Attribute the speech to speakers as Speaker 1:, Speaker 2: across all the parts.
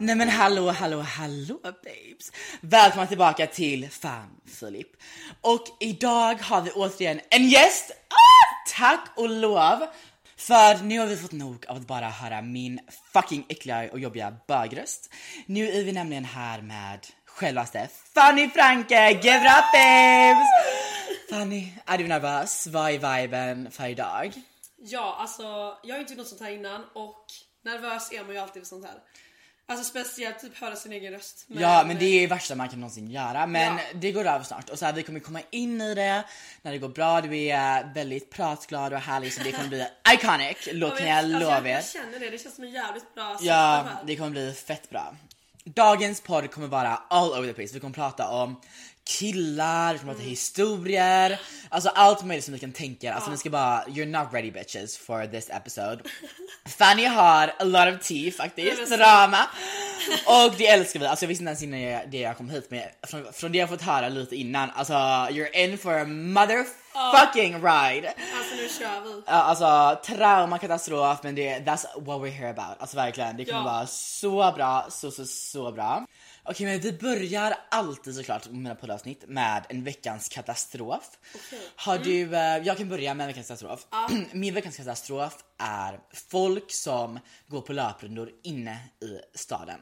Speaker 1: Nej men hallå, hallå, hallå babes! Välkomna tillbaka till Fan Filip. Och idag har vi återigen en gäst! Ah, tack och lov! För nu har vi fått nog av att bara höra min fucking äckliga och jobbiga bögröst. Nu är vi nämligen här med självaste Fanny Franke! Give it up babes! Fanny, är du nervös? Vad är viben för idag?
Speaker 2: Ja, alltså jag har inte gjort något sånt här innan och nervös är man ju alltid för sånt här. Alltså speciellt typ höra sin egen röst.
Speaker 1: ja men det är det värsta man kan någonsin göra men det går över snart och så här, vi kommer komma in i det när det går bra. Du är väldigt pratglad och härlig så det kommer bli iconic. Låt
Speaker 2: men,
Speaker 1: kan jag
Speaker 2: alltså,
Speaker 1: lova er.
Speaker 2: Jag känner det, det känns som en jävligt bra
Speaker 1: Ja,
Speaker 2: sätt
Speaker 1: det
Speaker 2: det...
Speaker 1: kommer bli fett bra. Dagens podd kommer vara all over the place. Vi kommer prata om killar, vi kommer prata historier, alltså allt möjligt som ni kan tänka er. Alltså ni ska bara, you're not ready bitches for this episode. Fanny har a lot of tea faktiskt,
Speaker 2: men-
Speaker 1: drama. Och det älskar vi. Alltså jag visste inte ens innan jag, det jag kom hit men från, från det jag fått höra lite innan, alltså you're in for a motherfucking ride.
Speaker 2: Alltså nu kör vi.
Speaker 1: Ja, alltså trauma, katastrof, men det, that's what we're here about. Alltså verkligen, det kommer
Speaker 2: Ja.
Speaker 1: vara så bra, så så så bra. Okej, men vi börjar alltid såklart med mina poddavsnitt med en veckans katastrof. Har
Speaker 2: Mm.
Speaker 1: du, eh, jag kan börja med en veckans katastrof. Min veckans katastrof är folk som går på löprundor inne i staden.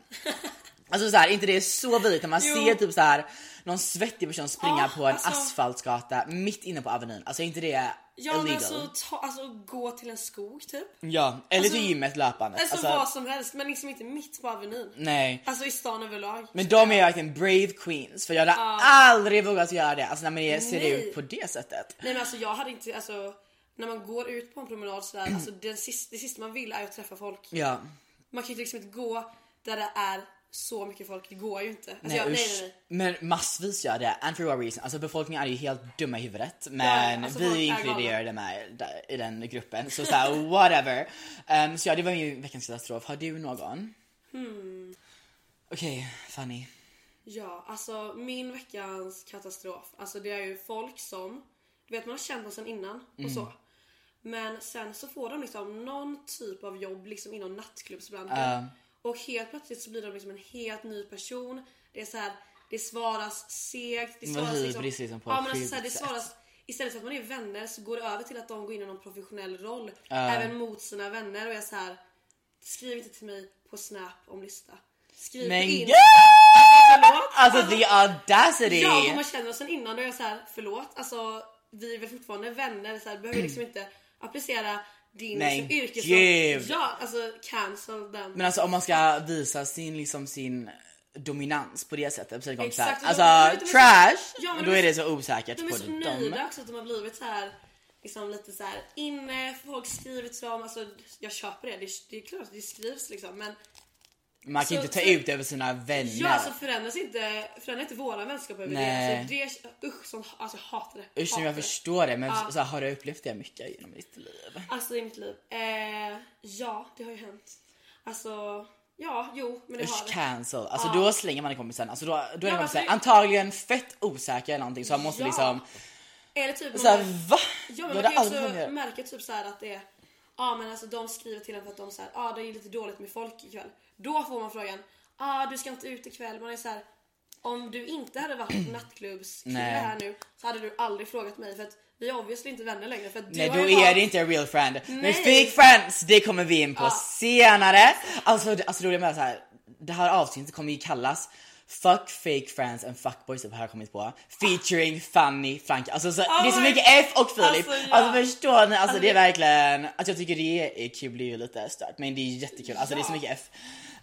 Speaker 1: Alltså så här, inte det är så vidrigt när man
Speaker 2: Jo.
Speaker 1: ser typ så här någon svettig person springa
Speaker 2: Ah,
Speaker 1: på en
Speaker 2: alltså.
Speaker 1: asfaltsgata mitt inne på Avenyn. Alltså är inte det
Speaker 2: Ja
Speaker 1: illegal?
Speaker 2: men alltså, ta, alltså gå till en skog typ.
Speaker 1: Ja, eller
Speaker 2: Alltså-
Speaker 1: till gymmet löpande.
Speaker 2: Alltså,
Speaker 1: Alltså,
Speaker 2: vad som helst men liksom inte mitt på Avenyn.
Speaker 1: nej.
Speaker 2: Alltså i stan överlag.
Speaker 1: Men de är verkligen brave queens för jag hade aldrig vågat göra det. Alltså när man är- ser det
Speaker 2: Nej.
Speaker 1: ut på det sättet.
Speaker 2: Nej men alltså jag hade inte, alltså när man går ut på en promenad sådär, alltså det sista, det sista man vill är att träffa folk.
Speaker 1: Ja,
Speaker 2: Man kan ju liksom inte gå där det är så mycket folk, det går ju inte. Alltså,
Speaker 1: nej,
Speaker 2: jag, nej
Speaker 1: usch.
Speaker 2: nej nej.
Speaker 1: Men massvis gör det. And for what reason. Alltså befolkningen är ju helt dumma i huvudet. Men
Speaker 2: alltså, folk är
Speaker 1: vi
Speaker 2: galna.
Speaker 1: inkluderar dem här där- i den gruppen. Så såhär whatever. Ehm, så ja, det var min veckans katastrof. Har du någon?
Speaker 2: Hmm.
Speaker 1: Okej, Fanny.
Speaker 2: Ja, alltså min veckans katastrof. Alltså det är ju folk som, du vet man har känt dem sen innan
Speaker 1: Mm.
Speaker 2: och så. Men sen så får de liksom någon typ av jobb liksom inom nattklubbsbranschen. Och helt plötsligt så blir de liksom en helt ny person. Det är så här, det svaras segt. Det
Speaker 1: Men
Speaker 2: svaras
Speaker 1: hybris liksom på
Speaker 2: ja, men
Speaker 1: ett
Speaker 2: alltså så här, det
Speaker 1: sjukt sätt.
Speaker 2: svaras, Istället för att man är vänner så går det över till att de går in i någon professionell roll. Även mot sina vänner och jag är så här. Skriv inte till mig på snap om lista. Skriv
Speaker 1: Men
Speaker 2: Typ in.
Speaker 1: gud! Alltså the audacity!
Speaker 2: Ja, och man känner oss sen innan och jag är så här, förlåt, alltså vi är väl fortfarande vänner så här,
Speaker 1: Mm.
Speaker 2: behöver liksom inte applicera din
Speaker 1: Men
Speaker 2: liksom, yrkes...
Speaker 1: gud.
Speaker 2: Ja, alltså cancel den.
Speaker 1: Men alltså om man ska visa sin, liksom, sin dominans på det sättet. På Exakt, så här,
Speaker 2: Exakt, och
Speaker 1: alltså
Speaker 2: de- de- de är så-
Speaker 1: trash!
Speaker 2: Ja, men
Speaker 1: då
Speaker 2: de
Speaker 1: är
Speaker 2: är
Speaker 1: det
Speaker 2: så-
Speaker 1: så osäkert
Speaker 2: de är
Speaker 1: på
Speaker 2: så
Speaker 1: dem.
Speaker 2: nöjda också att de har blivit så här liksom lite så här inne, folk skriver till dem, alltså jag köper det, det, är- det är klart att det skrivs liksom men
Speaker 1: Man kan
Speaker 2: så-
Speaker 1: inte ta
Speaker 2: så-
Speaker 1: ut det över sina vänner.
Speaker 2: ja alltså förändras inte, förändrar inte våra vänskap över
Speaker 1: Nej.
Speaker 2: det. Alltså, det usch, sånt, alltså jag hatar det.
Speaker 1: Usch, nu,
Speaker 2: hatar
Speaker 1: jag
Speaker 2: det.
Speaker 1: förstår det men så här, har du upplevt det mycket genom ditt liv?
Speaker 2: Alltså i mitt liv. Eh, ja, det har ju hänt. Alltså, ja, jo, men det har
Speaker 1: Usch
Speaker 2: det.
Speaker 1: cancel. Alltså då slänger man kompisen. Alltså då, då är
Speaker 2: men
Speaker 1: kompisen
Speaker 2: alltså-
Speaker 1: antagligen fett osäker eller någonting så han måste
Speaker 2: Ja.
Speaker 1: liksom
Speaker 2: Eller typ man,
Speaker 1: såhär va?
Speaker 2: ja,
Speaker 1: Jag
Speaker 2: men man
Speaker 1: hade
Speaker 2: kan ju också
Speaker 1: aldrig kunnat göra-
Speaker 2: märka typ så här att det är Ja men alltså de skriver till en för att de såhär, ja ah, det är lite dåligt med folk ikväll. Då får man frågan, ah du ska inte ut ikväll. Man är såhär, om du inte hade varit nattklubbskille
Speaker 1: Nej.
Speaker 2: här nu så hade du aldrig frågat mig för att vi är obviously inte vänner längre. För att du
Speaker 1: Nej
Speaker 2: har
Speaker 1: då
Speaker 2: ju
Speaker 1: är
Speaker 2: valt-
Speaker 1: det inte en real friend. Men
Speaker 2: Nej.
Speaker 1: fake friends, det kommer vi in på senare. Alltså, det- alltså då är det med så här. det här avsnittet kommer ju kallas Fuck fake friends and fuckboys typ har jag kommit på. Featuring Fanny Frank. Alltså så, det är så
Speaker 2: my-
Speaker 1: mycket F och Filip. Alltså,
Speaker 2: Alltså, ja.
Speaker 1: förstår ni? Alltså det är verkligen, att jag tycker det är kul det är ju lite stört men det är jättekul. Alltså det är så
Speaker 2: Ja.
Speaker 1: mycket F.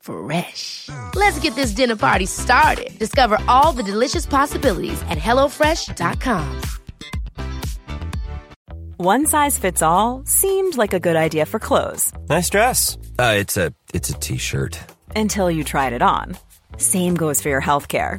Speaker 3: Fresh. Let's get this dinner party started. Discover all the delicious possibilities at hellofresh.com.
Speaker 4: One size fits all seemed like a good idea for clothes
Speaker 5: Nice dress. Uh, it's a it's a t-shirt.
Speaker 4: until you tried it on. Same goes for your healthcare.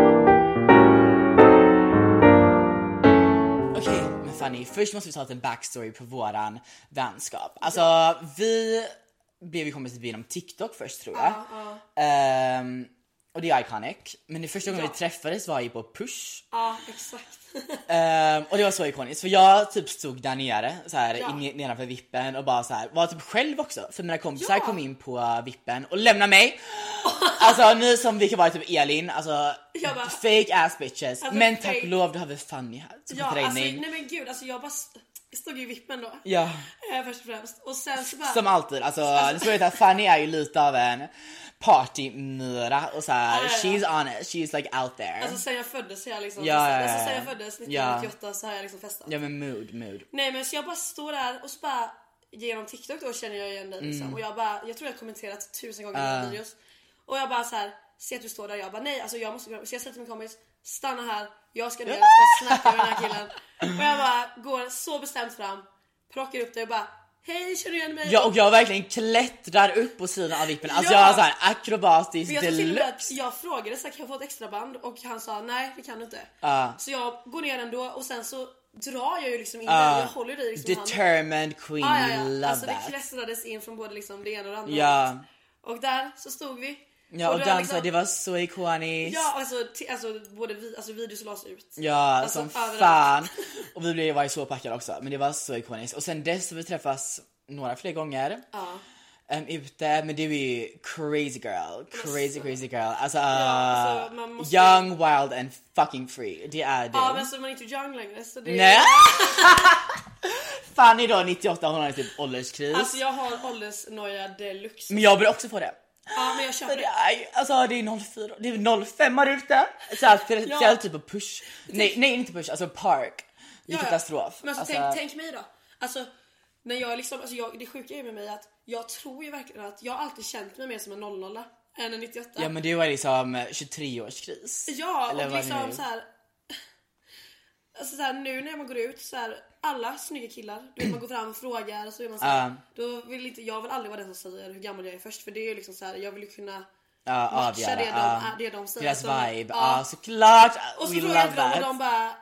Speaker 1: Okej, men Fanny, först måste vi ta en backstory på våran vänskap. Alltså, vi blev ju kompisar genom TikTok först tror jag. Ehm, och det är iconic. Men det första gången vi träffades var ju på Push.
Speaker 2: Ja, exakt.
Speaker 1: Ehm, och det var så ikoniskt för jag typ stod där nere så här, in, nedanför vippen och bara så här, var typ själv också för mina kompisar
Speaker 2: Ja.
Speaker 1: kom in på eh, vippen och lämnade mig. alltså ni som vilka var typ Elin, alltså
Speaker 2: Jag bara-
Speaker 1: fake ass bitches.
Speaker 2: Alltså,
Speaker 1: men tack
Speaker 2: fake.
Speaker 1: och lov då har vi Fanny här som
Speaker 2: Ja, alltså,
Speaker 1: träning.
Speaker 2: nej men gud, alltså jag bara st- stod i vippen då.
Speaker 1: Ja,
Speaker 2: Eh, först och främst. Och sen så bara...
Speaker 1: som alltid alltså, ni ska veta Fanny är ju lite av en partymyra och så här,
Speaker 2: Ja, ja, ja.
Speaker 1: she's on it, she's like out there.
Speaker 2: Alltså sen jag föddes så jag liksom...
Speaker 1: Ja, ja, ja.
Speaker 2: Alltså sen jag föddes 1998 så har jag liksom festat.
Speaker 1: ja men mood, mood.
Speaker 2: Nej men så jag bara står där och så bara genom TikTok då känner jag igen dig liksom.
Speaker 1: Mm.
Speaker 2: Och jag bara, jag tror jag har kommenterat tusen gånger
Speaker 1: Ah.
Speaker 2: dina videos. Och jag bara så här, ser att du står där jag bara nej alltså jag måste gå. Så jag säger till min kompis, stanna här, jag ska ner och snacka med den här killen. Och jag bara går så bestämt fram, plockar upp dig och bara hej känner du igen mig?
Speaker 1: Ja, och jag verkligen klättrar upp på sidan av vippen, alltså
Speaker 2: Ja.
Speaker 1: jag är såhär akrobatisk
Speaker 2: Men jag, tror till och med att
Speaker 1: deluxe.
Speaker 2: jag frågade så här, kan jag få ett extra band och han sa nej det kan du inte.
Speaker 1: Ah.
Speaker 2: Så jag går ner ändå och sen så drar jag ju liksom in
Speaker 1: Ah.
Speaker 2: dig, jag håller dig liksom i handen.
Speaker 1: Determined queen,
Speaker 2: Ja, ja,
Speaker 1: we
Speaker 2: ja.
Speaker 1: love
Speaker 2: Alltså det
Speaker 1: that.
Speaker 2: klättrades in från både liksom det ena och det andra.
Speaker 1: Ja,
Speaker 2: Och där så stod vi.
Speaker 1: ja och,
Speaker 2: då
Speaker 1: dansade,
Speaker 2: liksom-
Speaker 1: det var så ikoniskt.
Speaker 2: Ja alltså, t- alltså både vi, alltså videos lades ut.
Speaker 1: Ja,
Speaker 2: Alltså,
Speaker 1: som
Speaker 2: överallt.
Speaker 1: fan. Och vi blev var ju så packade också, men det var så ikoniskt. Och sen dess har vi träffats några fler gånger. Ja. ute, men du är ju crazy girl, crazy crazy girl. Alltså,
Speaker 2: alltså, man måste-
Speaker 1: young, wild and fucking free. Det är du.
Speaker 2: Ja men alltså man är inte young längre så det
Speaker 1: Nej! Fanny då 98, hon har typ ålderskris.
Speaker 2: Alltså jag har åldersnoja deluxe.
Speaker 1: Men jag börjar också få det.
Speaker 2: Ja men jag köper
Speaker 1: Det
Speaker 2: det.
Speaker 1: är, alltså det är 04, det är 05 här ute. Så här, för,
Speaker 2: Ja.
Speaker 1: så här typ av push. Nej, nej inte push, alltså park. Det är
Speaker 2: Ja, ja.
Speaker 1: katastrof.
Speaker 2: Men alltså,
Speaker 1: Alltså,
Speaker 2: Tänk, tänk mig då. Alltså, när jag liksom, alltså jag, det sjuka är med mig att jag tror ju verkligen att jag har alltid känt mig mer som en 00 än en 98.
Speaker 1: Ja men det var liksom 23-årskris.
Speaker 2: Ja,
Speaker 1: Eller
Speaker 2: och
Speaker 1: vad det nu
Speaker 2: liksom
Speaker 1: är.
Speaker 2: så här. Alltså så här, nu när man går ut så här, alla snygga killar, du vet man går fram och frågar och så är man så här,
Speaker 1: Ja.
Speaker 2: då vill inte, jag vill aldrig vara den som säger hur gammal jag är först för det är ju liksom så här, jag vill ju kunna
Speaker 1: Ja,
Speaker 2: matcha
Speaker 1: avgöra.
Speaker 2: det, de, äh,
Speaker 1: ja.
Speaker 2: det de säger.
Speaker 1: Deras
Speaker 2: Så-
Speaker 1: vibe,
Speaker 2: ja.
Speaker 1: ja såklart!
Speaker 2: Och så
Speaker 1: We
Speaker 2: frågar jag
Speaker 1: love
Speaker 2: till dem och
Speaker 1: that.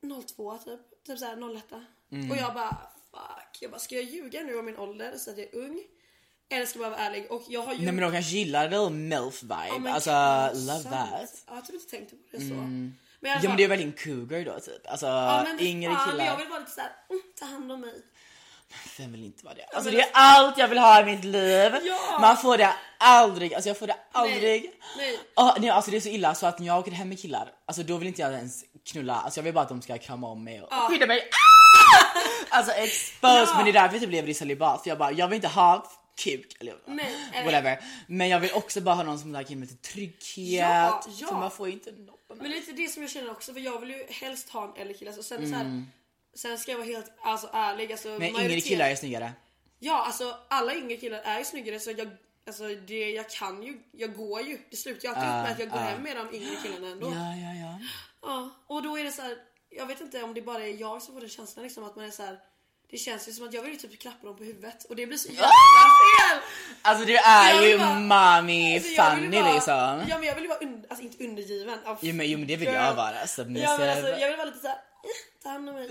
Speaker 2: de bara 02 typ, typ så här 01.
Speaker 1: Mm.
Speaker 2: Och jag bara fuck, jag bara ska jag ljuga nu om min ålder så att jag är ung? Eller ska jag bara vara ärlig? Och jag har ju
Speaker 1: Nej men de kanske gillar little milf vibe,
Speaker 2: Ja, men
Speaker 1: alltså
Speaker 2: gud,
Speaker 1: love
Speaker 2: sant.
Speaker 1: that. Mm.
Speaker 2: Ja, Jag har typ inte tänkt på det så. Men i alla
Speaker 1: Ja men
Speaker 2: fall-
Speaker 1: det är väl en cougar då typ, alltså
Speaker 2: Ja, men
Speaker 1: yngre
Speaker 2: fan,
Speaker 1: killar.
Speaker 2: Jag vill vara lite såhär, mm, ta hand om mig.
Speaker 1: Vem vill inte vara det? Alltså
Speaker 2: men
Speaker 1: det är allt jag vill ha i mitt liv.
Speaker 2: Ja.
Speaker 1: Man får det aldrig, alltså jag får det aldrig.
Speaker 2: Nej.
Speaker 1: Ah, nej alltså det är så illa så att när jag åker hem med killar, alltså då vill inte jag ens knulla, alltså jag vill bara att de ska krama om mig och skydda mig. Ah! Alltså exposed, men det är därför jag typ lever i celibat för jag bara, jag vill inte ha kuk eller
Speaker 2: Nej, eller-
Speaker 1: whatever. Men jag vill också bara ha någon som like, ger mig lite trygghet.
Speaker 2: Ja, ja.
Speaker 1: För man får ju inte något av det.
Speaker 2: Men det är lite det som jag känner också för jag vill ju helst ha en äldre kille. Alltså, sen, är det så här, sen ska jag vara helt alltså, ärlig. Alltså,
Speaker 1: Men Mm. yngre
Speaker 2: majoritet-
Speaker 1: killar är snyggare.
Speaker 2: Ja alltså alla yngre killar är ju snyggare så jag, alltså, det, jag kan ju, jag går ju. Det slutar ju alltid upp med att jag går hem med de yngre killarna ändå.
Speaker 1: Ah, Ja, ja, ja.
Speaker 2: Ja, och då är det så här, jag vet inte om det bara är jag som får den känslan liksom att man är så här. Det känns ju som att jag vill ju typ klappa dem på huvudet och det blir så jävla fel!
Speaker 1: Alltså du är
Speaker 2: Jag vill
Speaker 1: ju
Speaker 2: bara-
Speaker 1: mommy
Speaker 2: Alltså, jag vill
Speaker 1: funny
Speaker 2: ju vara-
Speaker 1: liksom.
Speaker 2: Ja men jag vill ju vara under, alltså inte undergiven. Ja,
Speaker 1: Jo men, jo, men Ah. det vill jag
Speaker 2: girl.
Speaker 1: vara, submissive.
Speaker 2: Ja men alltså jag vill vara "Eh, lite såhär, ta hand om mig.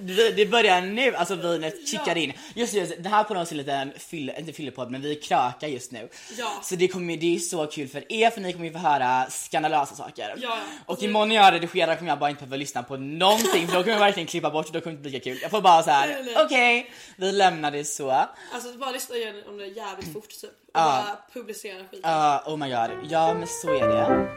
Speaker 1: Vi- Det börjar nu, alltså vinet kickar in. Just det, just det, den här podden är också lite en fylle, inte fyllepodd men vi krökar just nu.
Speaker 2: Ja.
Speaker 1: Så det, kommer, ju- det är ju så kul för er för ni kommer ju få höra skandalösa saker.
Speaker 2: Ja.
Speaker 1: Och imorgon när jag redigerar kommer jag bara inte behöva lyssna på någonting för då kommer jag verkligen klippa bort och då kommer det inte bli lika kul. Jag får bara så här:
Speaker 2: Nej, nej.
Speaker 1: okej, vi lämnar det så.
Speaker 2: Alltså bara lyssna igen om det är jävligt fort typ. Och
Speaker 1: Ah.
Speaker 2: bara publicera skiten.
Speaker 1: Ja, oh my god. Ja men så är det.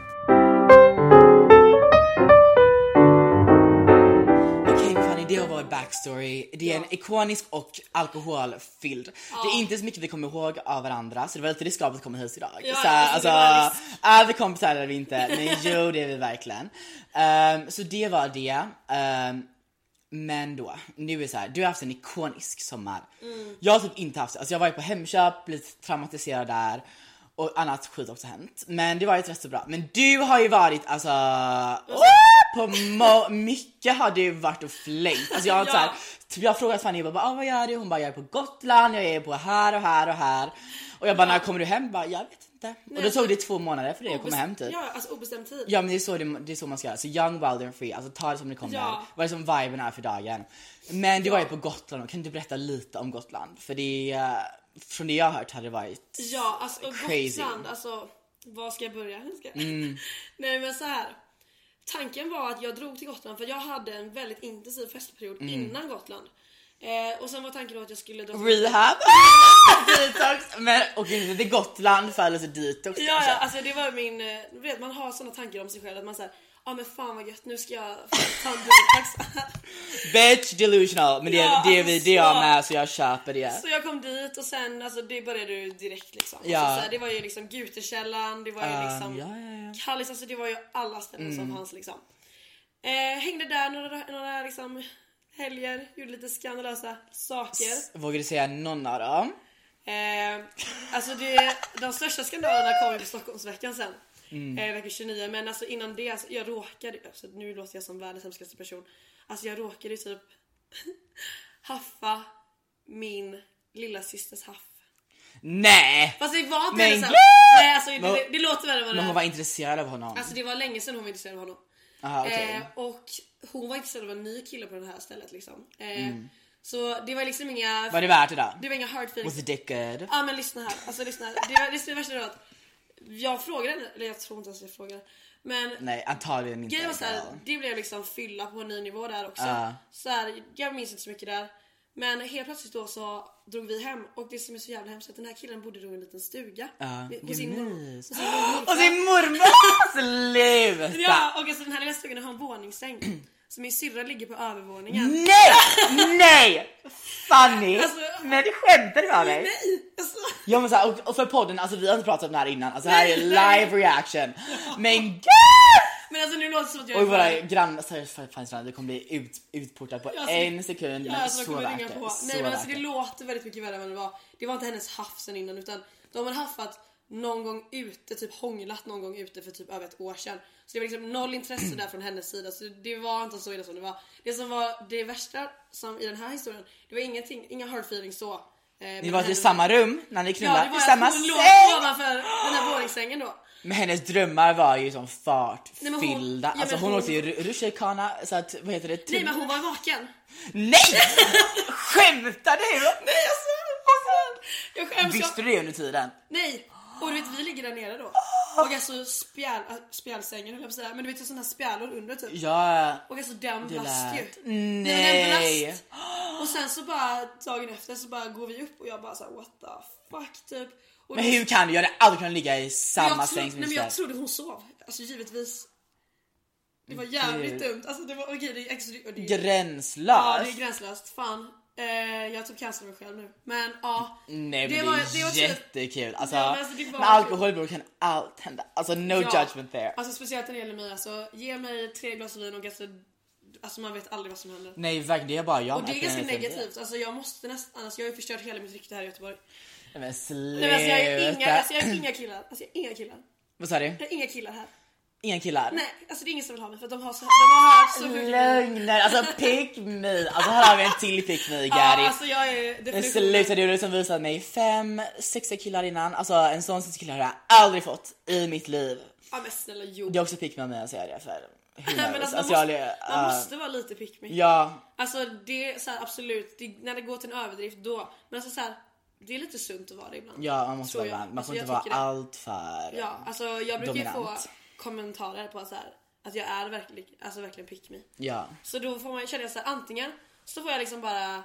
Speaker 1: Okej Fanny, det har varit backstory. Det är en ikonisk och alkoholfylld. Det är inte så mycket vi kommer ihåg av varandra så det var lite riskabelt att komma hit idag.
Speaker 2: Ja,
Speaker 1: så, här,
Speaker 2: alltså,
Speaker 1: alltså,
Speaker 2: det var risk.
Speaker 1: är vi kompisar eller är vi inte? Men jo det är vi verkligen. Ehm, så det var det. Ehm, men då, nu är det så här, du har haft en ikonisk sommar.
Speaker 2: Mm.
Speaker 1: Jag har typ inte haft det. Alltså jag var ju på Hemköp, blivit traumatiserad där och annat skit också hänt. Men det var ju rätt så bra. Men du har ju varit alltså, åh, på må- mycket har du varit och flängt. Alltså jag har
Speaker 2: Ja.
Speaker 1: så här, typ jag har frågat Fanny jag bara, ah, vad gör du? Hon bara jag är på Gotland, jag är på här och här och här. Och jag bara när kommer du hem? Bara, jag vet inte. och då
Speaker 2: alltså-
Speaker 1: tog det två månader för dig att komma hem typ.
Speaker 2: Ja, alltså obestämd tid.
Speaker 1: Ja men det är så, det, det är så man ska göra, så young, wild and free, alltså ta det som det kommer.
Speaker 2: Ja.
Speaker 1: Vad det som viben är för dagen. Men du var ju på Gotland, och kan du berätta lite om Gotland? För det, eh, från det jag har hört hade det varit...
Speaker 2: Ja, alltså och
Speaker 1: Crazy. Mm.
Speaker 2: Gotland, alltså var ska jag börja? Ska jag- Nej men så här. Tanken var att jag drog till Gotland för jag hade en väldigt intensiv festperiod
Speaker 1: Mm.
Speaker 2: innan Gotland. Eh, och sen var tanken då att jag skulle dra till
Speaker 1: Rehab! detox! Men och inte till Gotland för alltså detox
Speaker 2: Ja, ja, alltså det var min, eh, du vet man har såna tankar om sig själv att man säger ja ah, men fan vad gött nu ska jag ta en detox.
Speaker 1: Bitch delusional! Men det,
Speaker 2: Ja,
Speaker 1: det, är vi, det är jag
Speaker 2: alltså.
Speaker 1: med så jag köper det.
Speaker 2: Så jag kom dit och sen alltså det började ju direkt liksom.
Speaker 1: Ja.
Speaker 2: Alltså, så här, det var ju liksom Gutekällan, det var ju
Speaker 1: Ja,
Speaker 2: liksom
Speaker 1: ja, ja, ja. Mm.
Speaker 2: Kallis, alltså det var ju alla ställen som fanns liksom. Eh, hängde där några, några liksom helger, gjorde lite skandalösa saker.
Speaker 1: Vågar du säga någon av dem?
Speaker 2: Eh, alltså det, de största skandalerna kom ju på Stockholmsveckan sen.
Speaker 1: Mm.
Speaker 2: Eh, vecka 29. Men alltså innan det, alltså, jag råkade alltså, nu låter jag som världens hemskaste person. Alltså jag råkade ju typ haffa min lilla systers haff.
Speaker 1: Nej!
Speaker 2: Fast det var inte
Speaker 1: Men
Speaker 2: hennes haff.
Speaker 1: gud!
Speaker 2: Nej alltså
Speaker 1: Men-
Speaker 2: det, det låter värre än vad det
Speaker 1: Men
Speaker 2: är.
Speaker 1: hon var intresserad av honom.
Speaker 2: Alltså det var länge sedan hon var intresserad av honom.
Speaker 1: Aha, okej.
Speaker 2: Eh, och hon var intresserad av en ny kille på det här stället liksom. Eh, Så det var liksom inga...
Speaker 1: Mm. Var det värt det då?
Speaker 2: det var inga hard feelings.
Speaker 1: Was the dick good?
Speaker 2: Ja men lyssna här, alltså lyssna här. Det, var- det, det värsta var att jag frågade henne, eller jag tror inte ens jag frågade. Men
Speaker 1: Nej antagligen inte.
Speaker 2: grejen var såhär,
Speaker 1: girl.
Speaker 2: det blev liksom fylla på en ny nivå där också.
Speaker 1: Ja.
Speaker 2: Så här, jag minns inte så mycket där. Men helt plötsligt då så drog vi hem och det som är så jävla hemskt är att den här killen bodde då i en liten stuga.
Speaker 1: Ja,
Speaker 2: Med-
Speaker 1: vad
Speaker 2: Hos sin mor-
Speaker 1: mys.
Speaker 2: hos sin mormor.
Speaker 1: Och sin mormor! Sluta!
Speaker 2: Ja och alltså den här lilla stugan har en våningssäng. Så min syrra ligger på övervåningen.
Speaker 1: Nej! Nej! Fanny!
Speaker 2: Alltså-
Speaker 1: men du skämtar du med mig?
Speaker 2: Nej! Alltså,
Speaker 1: Ja men så här, och, och för podden, alltså vi har inte pratat om det här innan, alltså det här är
Speaker 2: Nej,
Speaker 1: live
Speaker 2: nej.
Speaker 1: reaction. Men gud!
Speaker 2: men alltså nu låter det som att jag
Speaker 1: Och
Speaker 2: är
Speaker 1: våra grannar, seriöst för fan snälla, vi kommer bli ut, utportade på
Speaker 2: Ja, alltså,
Speaker 1: en sekund.
Speaker 2: Ja,
Speaker 1: men
Speaker 2: alltså, de
Speaker 1: så
Speaker 2: kommer
Speaker 1: värt
Speaker 2: ringa
Speaker 1: det.
Speaker 2: på.
Speaker 1: Så
Speaker 2: Nej men alltså
Speaker 1: värt
Speaker 2: det låter väldigt mycket värre än vad det var. Det var inte hennes haff sen innan utan de hade haffat någon gång ute, typ hånglat någon gång ute för typ över ett år sedan. Så det var liksom noll intresse där från hennes sida så det var inte så illa som det var. Det som var det värsta som i den här historien, det var ingenting, inga hard feelings så. eh,
Speaker 1: Ni
Speaker 2: mellan
Speaker 1: var i
Speaker 2: henne-
Speaker 1: samma rum när ni
Speaker 2: Ja
Speaker 1: knullade,
Speaker 2: det var alltså,
Speaker 1: i samma
Speaker 2: hon låg
Speaker 1: säng!
Speaker 2: ovanför den här våningssängen då.
Speaker 1: Men hennes drömmar var ju som
Speaker 2: Nej, men hon-
Speaker 1: fartfyllda,
Speaker 2: ja, men
Speaker 1: alltså hon,
Speaker 2: hon-
Speaker 1: åkte ju ru- rutschkana, så att vad heter det? typ-
Speaker 2: Nej men hon var vaken.
Speaker 1: Nej! Skämtar du? Nej jag
Speaker 2: Jag skäms. jag-
Speaker 1: Visste du det under tiden?
Speaker 2: Nej! Och du vet vi ligger där nere då.
Speaker 1: Ah.
Speaker 2: Och alltså spjäl, äh, spjälsängen höll jag på att säga. Men du vet sådana här spjälor under typ.
Speaker 1: Ja,
Speaker 2: Och alltså den
Speaker 1: det
Speaker 2: brast ju.
Speaker 1: lät...
Speaker 2: Det var den
Speaker 1: Nej!
Speaker 2: brast. Och sen så bara dagen efter så bara går vi upp och jag bara såhär what the fuck typ. Och
Speaker 1: Men
Speaker 2: då-
Speaker 1: hur kan du? Jag hade aldrig kunnat ligga i samma
Speaker 2: jag tro-
Speaker 1: säng som
Speaker 2: Nej men jag
Speaker 1: Michelle.
Speaker 2: trodde hon sov. Alltså givetvis. Det var jävligt
Speaker 1: Gud.
Speaker 2: dumt. Alltså det var okej det är extra och det är- Ja det är
Speaker 1: Gränslöst!
Speaker 2: gränslöst. Fan. Eh, jag typ cancelar mig själv nu. Men ja.
Speaker 1: Nej men det,
Speaker 2: var- det var
Speaker 1: är
Speaker 2: typ-
Speaker 1: jättekul. Alltså,
Speaker 2: Ja, men alltså, det var-
Speaker 1: med alkoholbror kan allt hända. Alltså no judgment there.
Speaker 2: Alltså speciellt när det gäller mig alltså. Ge mig tre glas vin och ganska... Alltså man vet aldrig vad som händer.
Speaker 1: Nej verkligen, det är bara jag
Speaker 2: Och det är
Speaker 1: med.
Speaker 2: ganska
Speaker 1: Jag kan inte säga
Speaker 2: negativt. Alltså jag måste nästan... Annars jag har ju förstört hela mitt rykte här i Göteborg.
Speaker 1: det. Nej men sluta.
Speaker 2: Nej, men alltså, jag har inga, alltså, jag har inga killar. Alltså jag har inga killar.
Speaker 1: Vad sa du?
Speaker 2: Jag har inga killar här.
Speaker 1: Inga killar?
Speaker 2: Nej, Ah, alltså det är ingen som vill ha mig för att de har, så, de har hört så sjuka grejer.
Speaker 1: Lögner! Alltså pick me! Alltså här har vi en till pick me Gary.
Speaker 2: Ja, alltså jag är
Speaker 1: Men
Speaker 2: definitionen.
Speaker 1: sluta, du har liksom visat mig fem, sexiga killar innan. Alltså en sån sexig kille har jag aldrig fått i mitt liv.
Speaker 2: Ja men snälla jo.
Speaker 1: Jag också fick med mig att säga det för Who
Speaker 2: Nej, men
Speaker 1: knows?
Speaker 2: alltså, man,
Speaker 1: Alltså, jag
Speaker 2: måste,
Speaker 1: är-
Speaker 2: man
Speaker 1: ah,
Speaker 2: måste vara lite pick me.
Speaker 1: Ja,
Speaker 2: Alltså det är så här, absolut, det, när det går till en överdrift då. Men alltså så här, det är lite sunt att vara det ibland.
Speaker 1: ja, man måste
Speaker 2: Tror
Speaker 1: vara
Speaker 2: jag.
Speaker 1: vän. Man
Speaker 2: Alltså,
Speaker 1: får
Speaker 2: jag
Speaker 1: inte vara
Speaker 2: tycker det.
Speaker 1: allt för...
Speaker 2: Ja, alltså jag brukar ju få
Speaker 1: Dominant.
Speaker 2: kommentarer på så här, att jag är verkligen, alltså verkligen pick me.
Speaker 1: ja.
Speaker 2: Så då får man, känner jag så här, antingen så får jag liksom bara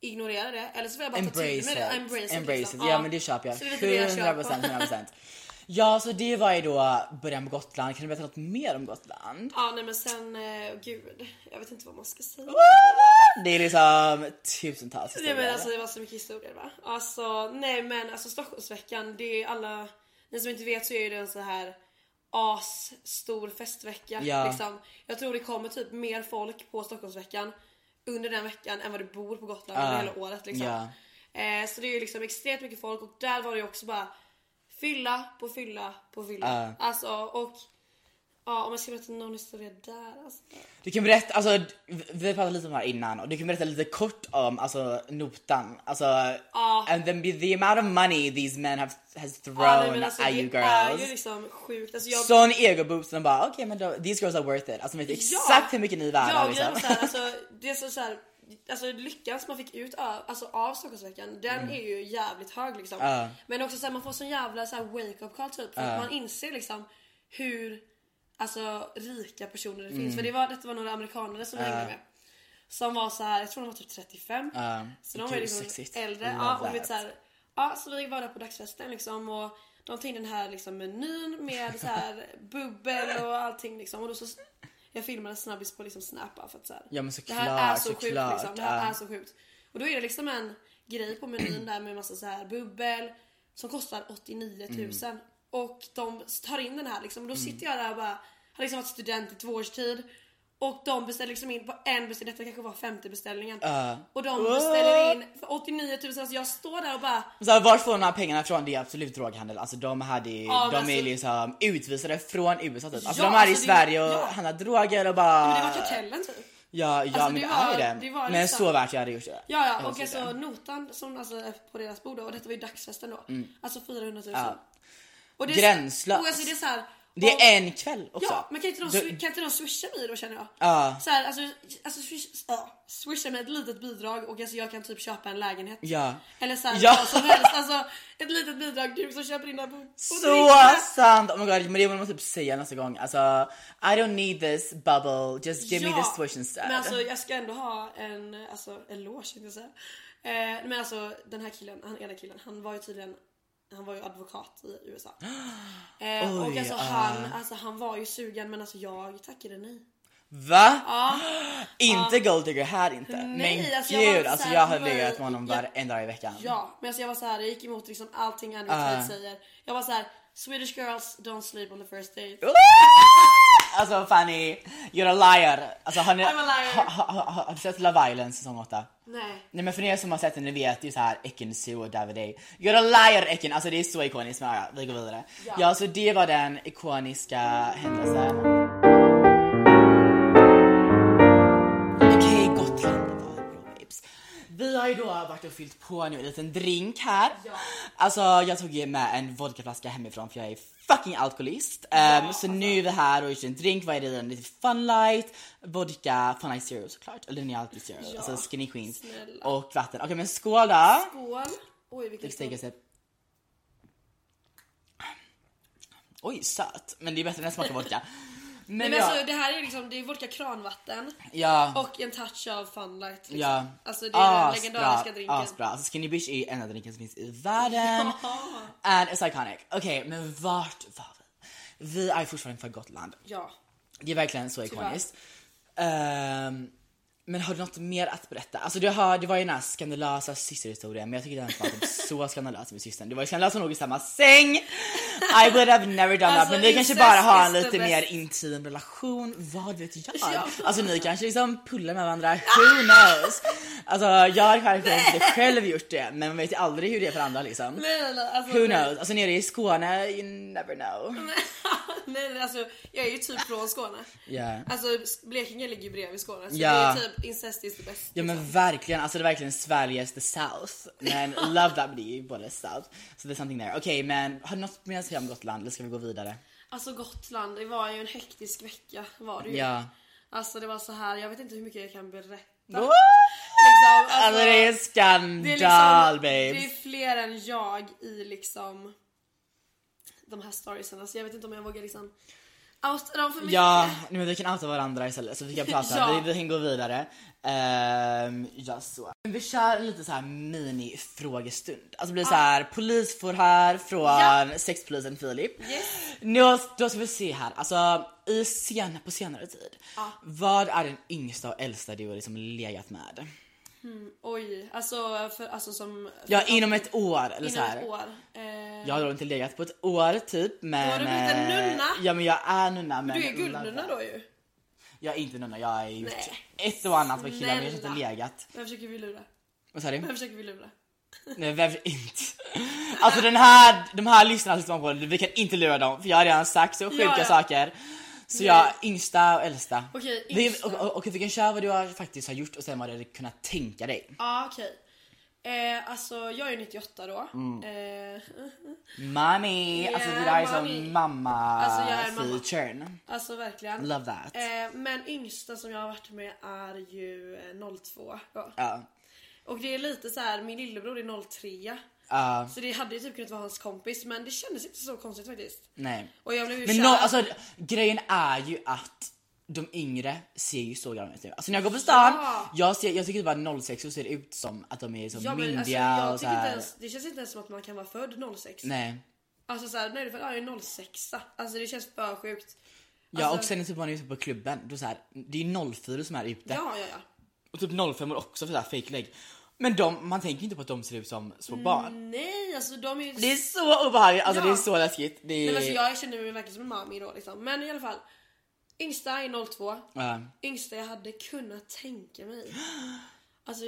Speaker 2: ignorera det eller så får jag bara ta till
Speaker 1: Embrace
Speaker 2: mig det.
Speaker 1: it.
Speaker 2: Embrace,
Speaker 1: Embrace
Speaker 2: liksom.
Speaker 1: it. Ja men det köper jag.
Speaker 2: Så det är lite det jag kör
Speaker 1: 100%,
Speaker 2: på.
Speaker 1: 100%. Ja så det var ju då början på Gotland. Kan du berätta något mer om Gotland?
Speaker 2: Ja nej men sen, eh, gud. Jag vet inte vad man ska säga.
Speaker 1: Det är liksom tusentals
Speaker 2: Nej men
Speaker 1: historier.
Speaker 2: alltså det var så mycket historier va? Alltså nej men alltså Stockholmsveckan det är alla, ni som inte vet så är ju det en så här as stor festvecka
Speaker 1: Ja.
Speaker 2: liksom. Jag tror det kommer typ mer folk på Stockholmsveckan under den veckan än vad det bor på Gotland under hela året liksom.
Speaker 1: Ja.
Speaker 2: Eh, så det är ju liksom extremt mycket folk och där var det ju också bara fylla på fylla på fylla. Alltså och ja om jag ska berätta någon historia där alltså.
Speaker 1: Du kan berätta, alltså vi- vi pratade lite om det här innan och du kan berätta lite kort om alltså notan. Alltså and then be the amount of money these men have has thrown
Speaker 2: Ja, nej, men alltså,
Speaker 1: at you
Speaker 2: det är ju
Speaker 1: girls.
Speaker 2: liksom sjukt. Alltså, jag
Speaker 1: Sån egoboost som bara okej men då, these girls are worth it. Alltså de vet exakt hur mycket ni är värda
Speaker 2: ja, liksom.
Speaker 1: liksom.
Speaker 2: Ja, så här, alltså, det är så, så här, alltså lyckan som man fick ut av, alltså, av Stockholmsveckan, den är ju jävligt hög liksom.
Speaker 1: Mm. Ja.
Speaker 2: Men också så här, man får sån jävla så här, wake up call typ, för att man inser liksom hur alltså, rika personer det
Speaker 1: Mm.
Speaker 2: finns. För det var, detta var några amerikanare som vi hängde med. Som var så här, jag tror de var typ 35.
Speaker 1: Ja.
Speaker 2: Så de
Speaker 1: Gud,
Speaker 2: var ju liksom
Speaker 1: sexigt.
Speaker 2: äldre.
Speaker 1: Love
Speaker 2: Ja, och du vet
Speaker 1: that.
Speaker 2: så här, ja, så vi var där på dagsfesten liksom och de tog in den här liksom, menyn med så här, bubbel och allting liksom. Och då så, jag filmade en snabbis på liksom, Snap bara för att så här,
Speaker 1: Ja, men såklart,
Speaker 2: det här är så sjukt
Speaker 1: såklart,
Speaker 2: liksom. Det här
Speaker 1: ja.
Speaker 2: är så sjukt. Och då är det liksom en grej på menyn där med massa så här bubbel som kostar 89 000.
Speaker 1: Mm.
Speaker 2: Och de tar in den här liksom och då sitter jag där och bara har liksom varit student i två års tid. Och de beställer liksom in på en beställning, detta kanske var femte beställningen. Och de beställer in för 89 000, alltså jag står där och bara
Speaker 1: Så här, vart får de här pengarna ifrån? Det är absolut droghandel. Alltså de hade ju,
Speaker 2: Ja,
Speaker 1: de
Speaker 2: men
Speaker 1: är
Speaker 2: alltså-
Speaker 1: liksom utvisade från USA typ. Alltså
Speaker 2: Ja,
Speaker 1: de är i
Speaker 2: alltså, det-
Speaker 1: Sverige och
Speaker 2: ja.
Speaker 1: handlar droger och bara...
Speaker 2: Men det var kartellen typ.
Speaker 1: Ja, ja
Speaker 2: Alltså,
Speaker 1: men
Speaker 2: det
Speaker 1: det,
Speaker 2: var-
Speaker 1: är det.
Speaker 2: det var
Speaker 1: men
Speaker 2: liksom-
Speaker 1: så värt jag hade gjort det.
Speaker 2: Ja,
Speaker 1: Jag
Speaker 2: ja och
Speaker 1: måste säga
Speaker 2: alltså
Speaker 1: det.
Speaker 2: notan som alltså är på deras bord då, och detta var ju dagsfesten då. Alltså 400 000.
Speaker 1: Mm. Ja.
Speaker 2: Och det är,
Speaker 1: Gränslöst.
Speaker 2: Och alltså det är så här,
Speaker 1: Det
Speaker 2: om-
Speaker 1: är en kväll också.
Speaker 2: Ja, men kan inte de,
Speaker 1: Du-
Speaker 2: swi- kan inte de swisha mig då känner jag?
Speaker 1: Ja.
Speaker 2: Så här, alltså, alltså swish, ja, swisha mig ett litet bidrag och alltså, jag kan typ köpa en lägenhet.
Speaker 1: Ja.
Speaker 2: Eller så här,
Speaker 1: Ja.
Speaker 2: vad som helst. Alltså ett litet bidrag, du som köper in den på på
Speaker 1: Så
Speaker 2: drickorna.
Speaker 1: sant! Oh my god, men det måste man typ säga nästa gång. Alltså, I don't need this bubble, just give me
Speaker 2: Ja,
Speaker 1: this swish instead.
Speaker 2: Men alltså jag ska ändå ha en alltså, eloge tänkte jag säga. Eh, men alltså den här killen, han ena killen, han var ju tydligen han var ju advokat i USA. Eh, och
Speaker 1: Oj,
Speaker 2: alltså,
Speaker 1: ah.
Speaker 2: han, alltså han var ju sugen men alltså jag tackade nej.
Speaker 1: Va? inte golddigger här inte.
Speaker 2: Nej,
Speaker 1: men
Speaker 2: alltså, jag var
Speaker 1: gud,
Speaker 2: så
Speaker 1: alltså
Speaker 2: här-
Speaker 1: jag har
Speaker 2: det var-
Speaker 1: legat med honom
Speaker 2: jag-
Speaker 1: varenda dag i veckan.
Speaker 2: Ja, men alltså jag var så här, jag gick emot liksom allting Andrew
Speaker 1: Ah.
Speaker 2: Tate säger. Jag var så här, Swedish girls don't sleep on the first date.
Speaker 1: Oh. Alltså Fanny, you're a liar. Alltså har ni,
Speaker 2: I'm a liar.
Speaker 1: Ha, ha, ha, har du sett Love Island säsong 8?
Speaker 2: Nej.
Speaker 1: Nej men för er som har sett den, ni vet det är ju såhär Ekin Su och Davide. You're a liar Ekin! Alltså det är så ikoniskt men ja, vi går vidare. Ja. så det var den ikoniska händelsen. Okej Gotland då, Blå babes. Vi har ju då varit och fyllt på nu en liten drink här. Alltså jag tog ju med en vodkaflaska hemifrån för jag är fucking alkoholist. Ehm,
Speaker 2: alltså.
Speaker 1: så nu är vi här och gjort en drink, vad är det i den? Lite funlight, vodka, funlight zero såklart. Eller den är alltid zero. Alltså skinny queens.
Speaker 2: snälla.
Speaker 1: Och vatten. Okej men skål då!
Speaker 2: Skål. Oj vilken
Speaker 1: Fick steka sig. Oj söt, men det är bättre när det smakar vodka. Men,
Speaker 2: Nej, men
Speaker 1: ja,
Speaker 2: alltså, det här är liksom, det är vodka kranvatten
Speaker 1: ja.
Speaker 2: och en touch av funlight. Liksom.
Speaker 1: Ja. Ah,
Speaker 2: Alltså det är den
Speaker 1: Asbra,
Speaker 2: legendariska drinken.
Speaker 1: Asbra. Alltså Skinny Bitch är enda drinken som finns i världen. And it's iconic. Okej, men vart var vi? Vi är fortfarande för Gotland.
Speaker 2: Ja.
Speaker 1: Det är verkligen så ikoniskt. Ehm, men har du något mer att berätta? Alltså det, har, det var ju den här skandalösa systerhistorien men jag tycker den var typ så skandalös med systern. Det var ju skandalöst att hon låg i samma säng. I would have never done that.
Speaker 2: Alltså,
Speaker 1: Men ni kanske
Speaker 2: incest
Speaker 1: bara har en
Speaker 2: is the
Speaker 1: lite
Speaker 2: best.
Speaker 1: mer intim relation, vad vet jag?
Speaker 2: Ja.
Speaker 1: Alltså ni kanske liksom pullar med varandra, who knows? Alltså jag har kanske inte själv gjort det men man vet ju aldrig hur det är för andra liksom.
Speaker 2: Nej, nej, nej,
Speaker 1: Who
Speaker 2: alltså, nej.
Speaker 1: knows? Alltså nere i Skåne, you never know.
Speaker 2: nej, nej, alltså, jag är ju typ från Skåne.
Speaker 1: Yeah.
Speaker 2: Alltså Blekinge ligger ju bredvid Skåne så
Speaker 1: Ja.
Speaker 2: det är typ incest is the best.
Speaker 1: Ja men verkligen, alltså det är verkligen Sveriges the south. Men love that, men det är ju både south. Så det är something there. Okej men har du något mer att säga om Gotland eller ska vi gå vidare?
Speaker 2: Alltså Gotland, det var ju en hektisk vecka var det ju.
Speaker 1: Ja.
Speaker 2: Alltså det var så här, jag vet inte hur mycket jag kan berätta.
Speaker 1: Liksom,
Speaker 2: Liksom,
Speaker 1: alltså det är
Speaker 2: det är
Speaker 1: skandal
Speaker 2: liksom, Det är
Speaker 1: babes.
Speaker 2: fler än jag i liksom de här storiesen. Alltså jag vet inte om jag vågar liksom outa dem för mycket.
Speaker 1: Ja, nej, men vi kan outa varandra istället så vi kan prata,
Speaker 2: Ja.
Speaker 1: vi, vi kan gå vidare. Ehm, ja så. Men Vi kör lite så här mini frågestund. Alltså det blir så här polisförhör från
Speaker 2: Ja.
Speaker 1: sexpolisen Filip.
Speaker 2: Yes.
Speaker 1: Nu, då ska vi se här, alltså i sen, på senare tid. Vad är den yngsta och äldsta du har liksom legat med?
Speaker 2: Oj, alltså, för, alltså som...
Speaker 1: Ja inom ett år eller så
Speaker 2: inom
Speaker 1: här.
Speaker 2: ett år. Eh,
Speaker 1: Jag har då inte legat på ett år typ men...
Speaker 2: har du blivit en
Speaker 1: eh,
Speaker 2: nunna?
Speaker 1: Ja men jag är nunna men...
Speaker 2: Du är guldnunna då ju.
Speaker 1: Jag är inte nunna, jag har gjort
Speaker 2: Nej.
Speaker 1: ett och annat med killar men jag har inte
Speaker 2: Snälla.
Speaker 1: legat.
Speaker 2: Vem försöker vi lura?
Speaker 1: Vad sa du?
Speaker 2: Vem försöker vi lura?
Speaker 1: Nej varför inte? Alltså den här, de här lyssnarna lyssnar på vi kan inte lura dem för jag har redan sagt så sjuka
Speaker 2: Ja, ja.
Speaker 1: saker. Så
Speaker 2: Nej.
Speaker 1: jag, yngsta och äldsta.
Speaker 2: Okej,
Speaker 1: Vi-
Speaker 2: yngsta.
Speaker 1: och- och- Okej vi kan köra vad du har, faktiskt har gjort och sen vad du hade kunnat tänka dig.
Speaker 2: Ja okej. Eh, alltså jag är ju 98 då.
Speaker 1: Mm.
Speaker 2: Eh,
Speaker 1: Mommy!
Speaker 2: Ja,
Speaker 1: alltså det där är
Speaker 2: mommy.
Speaker 1: som mamma
Speaker 2: Alltså, jag är mamma.
Speaker 1: featuren.
Speaker 2: alltså verkligen.
Speaker 1: Love that.
Speaker 2: Eh, men yngsta som jag har varit med är ju eh, 02 då.
Speaker 1: Ja.
Speaker 2: Och det är lite så här, min lillebror är 03
Speaker 1: Ja,
Speaker 2: Så det hade ju typ kunnat vara hans kompis men det kändes inte så konstigt faktiskt.
Speaker 1: nej.
Speaker 2: Och jag blev ju
Speaker 1: Men
Speaker 2: kär.
Speaker 1: no, alltså, grejen är ju att de yngre ser ju så gamla ut nu. Alltså när jag går på stan,
Speaker 2: Ja.
Speaker 1: jag, ser, jag tycker typ bara 06 så ser det ut som att de är så
Speaker 2: ja, men, alltså,
Speaker 1: myndiga
Speaker 2: jag
Speaker 1: och så
Speaker 2: tycker inte
Speaker 1: här.
Speaker 2: ens, Det känns inte ens som att man kan vara född 06.
Speaker 1: Nej.
Speaker 2: Alltså såhär, nej du är född, ja, jag är 06 Alltså det känns för sjukt.
Speaker 1: Ja
Speaker 2: Alltså-
Speaker 1: och sen är typ man är ute på klubben, då så här, det är ju 04 som är ute.
Speaker 2: Ja, ja, ja.
Speaker 1: Och typ 05 är också för så här fake leg. Men de, man tänker ju inte på att de ser ut som små barn.
Speaker 2: Nej alltså de är ju...
Speaker 1: Det är så obehagligt, alltså
Speaker 2: Mm. Ja.
Speaker 1: det är så läskigt. Det är...
Speaker 2: Nej, men alltså, jag känner mig verkligen som en mami då liksom. Men i alla fall. Yngsta är 02.
Speaker 1: Ja.
Speaker 2: Yngsta jag hade kunnat tänka mig. Alltså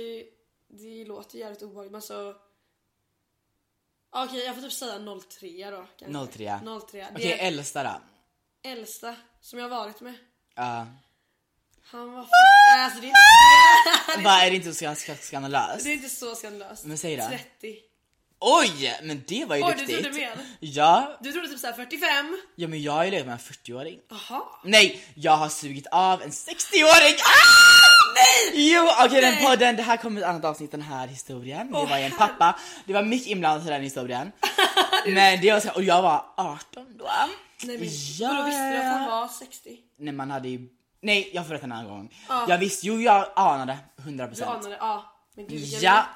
Speaker 2: det låter jävligt obehagligt men alltså. Okej jag får typ säga 03 då. Kanske.
Speaker 1: 03.
Speaker 2: 03. Det
Speaker 1: Okej
Speaker 2: är
Speaker 1: äldsta då.
Speaker 2: äldsta som jag har varit med.
Speaker 1: Ja.
Speaker 2: Han var fan... Alltså det är inte,
Speaker 1: Vad är det inte så sk- skandalöst?
Speaker 2: det är inte så skandalöst.
Speaker 1: Men säg då.
Speaker 2: 30.
Speaker 1: Oj! Men det var ju
Speaker 2: Oj, du
Speaker 1: duktigt.
Speaker 2: trodde mer.
Speaker 1: Ja,
Speaker 2: Du trodde typ såhär 45.
Speaker 1: ja men jag har ju legat med en 40-åring.
Speaker 2: Jaha.
Speaker 1: Nej, jag har sugit av en 60-åring! Ah! Nej! Jo, okej den
Speaker 2: Nej.
Speaker 1: podden, det här kommer ett annat avsnitt den här historien. det
Speaker 2: Åh,
Speaker 1: var ju en pappa, det var mycket inblandat i den historien. men det var så, och jag var 18 då.
Speaker 2: Nej men
Speaker 1: Ja.
Speaker 2: vadå, visste du att han var 60?
Speaker 1: När man hade ju, nej jag får berätta en annan gång. Jag visste, jo jag anade 100%.
Speaker 2: Du anade? Ja. Men gud, vilken-
Speaker 1: Ja!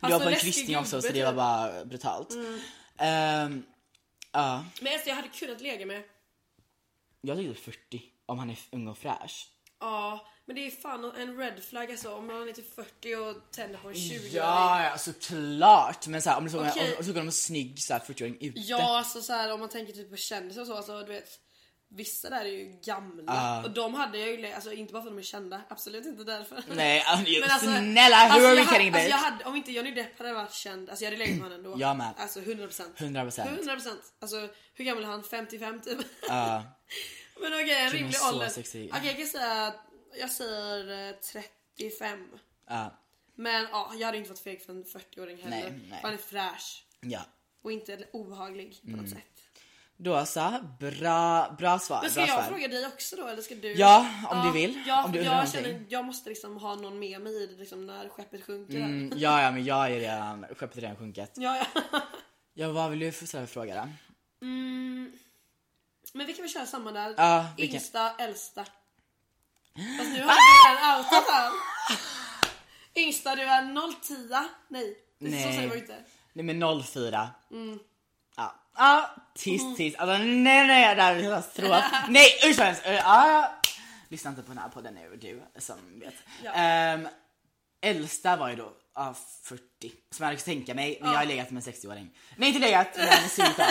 Speaker 1: Det
Speaker 2: Alltså,
Speaker 1: var på en
Speaker 2: läskig
Speaker 1: kristning också så
Speaker 2: gubbe,
Speaker 1: det var
Speaker 2: typ. Mm.
Speaker 1: bara brutalt. Ehm, ja,
Speaker 2: Men alltså jag hade kunnat lägga med.
Speaker 1: jag tycker 40 om han är ung och fräsch.
Speaker 2: Ja, men det är fan en red flag alltså om man är typ 40 och tänder på en 20
Speaker 1: Ja, ja såklart! Men så här, om du såg
Speaker 2: Okej.
Speaker 1: okay. en, en snygg så här 40-åring ute.
Speaker 2: Ja, alltså så här, om man tänker typ på kändisar och så, alltså, du vet. Vissa där är ju gamla
Speaker 1: Ah.
Speaker 2: och de hade jag ju, le- alltså inte bara för att de är kända, absolut inte därför.
Speaker 1: Nej, ah, snälla, hur
Speaker 2: alltså,
Speaker 1: are we
Speaker 2: jag hade-
Speaker 1: kidding,
Speaker 2: alltså, jag
Speaker 1: bitch?
Speaker 2: hade, Om inte Johnny Depp hade varit känd, alltså jag hade legat med honom ändå.
Speaker 1: Jag med.
Speaker 2: Alltså 100%.
Speaker 1: 100%.
Speaker 2: 100%. Alltså hur gammal är han? 55 typ?
Speaker 1: Ja.
Speaker 2: Men okej,
Speaker 1: Killen är
Speaker 2: en rimlig
Speaker 1: Ah. så
Speaker 2: ålder. Okej
Speaker 1: sexig.
Speaker 2: jag kan säga, jag säger eh, 35.
Speaker 1: Ja,
Speaker 2: Men ja, jag hade inte varit feg för en 40-åring heller.
Speaker 1: Ah. Nej, nej.
Speaker 2: Han är fräsch.
Speaker 1: ja.
Speaker 2: Och inte obehaglig på något
Speaker 1: Mm.
Speaker 2: sätt.
Speaker 1: Då så, bra, bra svar.
Speaker 2: Men ska
Speaker 1: bra
Speaker 2: jag
Speaker 1: svar.
Speaker 2: fråga dig också då eller ska du?
Speaker 1: Ja, om du vill.
Speaker 2: Ja,
Speaker 1: Om du
Speaker 2: för
Speaker 1: undrar
Speaker 2: jag
Speaker 1: någonting.
Speaker 2: känner jag måste liksom ha någon med mig i det, liksom, när skeppet sjunker.
Speaker 1: Mm, ja, ja, men jag är redan, skeppet är redan sjunkit.
Speaker 2: Ja, ja.
Speaker 1: Ja, vad vill du för ställa för fråga då?
Speaker 2: Men vi kan väl köra samma där.
Speaker 1: Ja, vi kan- Ah!
Speaker 2: Yngsta, äldsta. Fast nu har jag redan outat här. Yngsta, du är 010. Nej, det så
Speaker 1: Nej.
Speaker 2: säger man ju inte.
Speaker 1: Nej men 04.
Speaker 2: Mm.
Speaker 1: Ja. Ja, tyst tyst. Alltså nej nej, det här är katastrof. nej usch vad hemskt. Ö, ja, ja. Lyssna inte på den här podden nu du som vet.
Speaker 2: Ja.
Speaker 1: Ehm, äldsta var ju då ja, 40. Som jag hade tänka mig, men jag har legat med en 60-åring. Nej inte legat, men sugit av.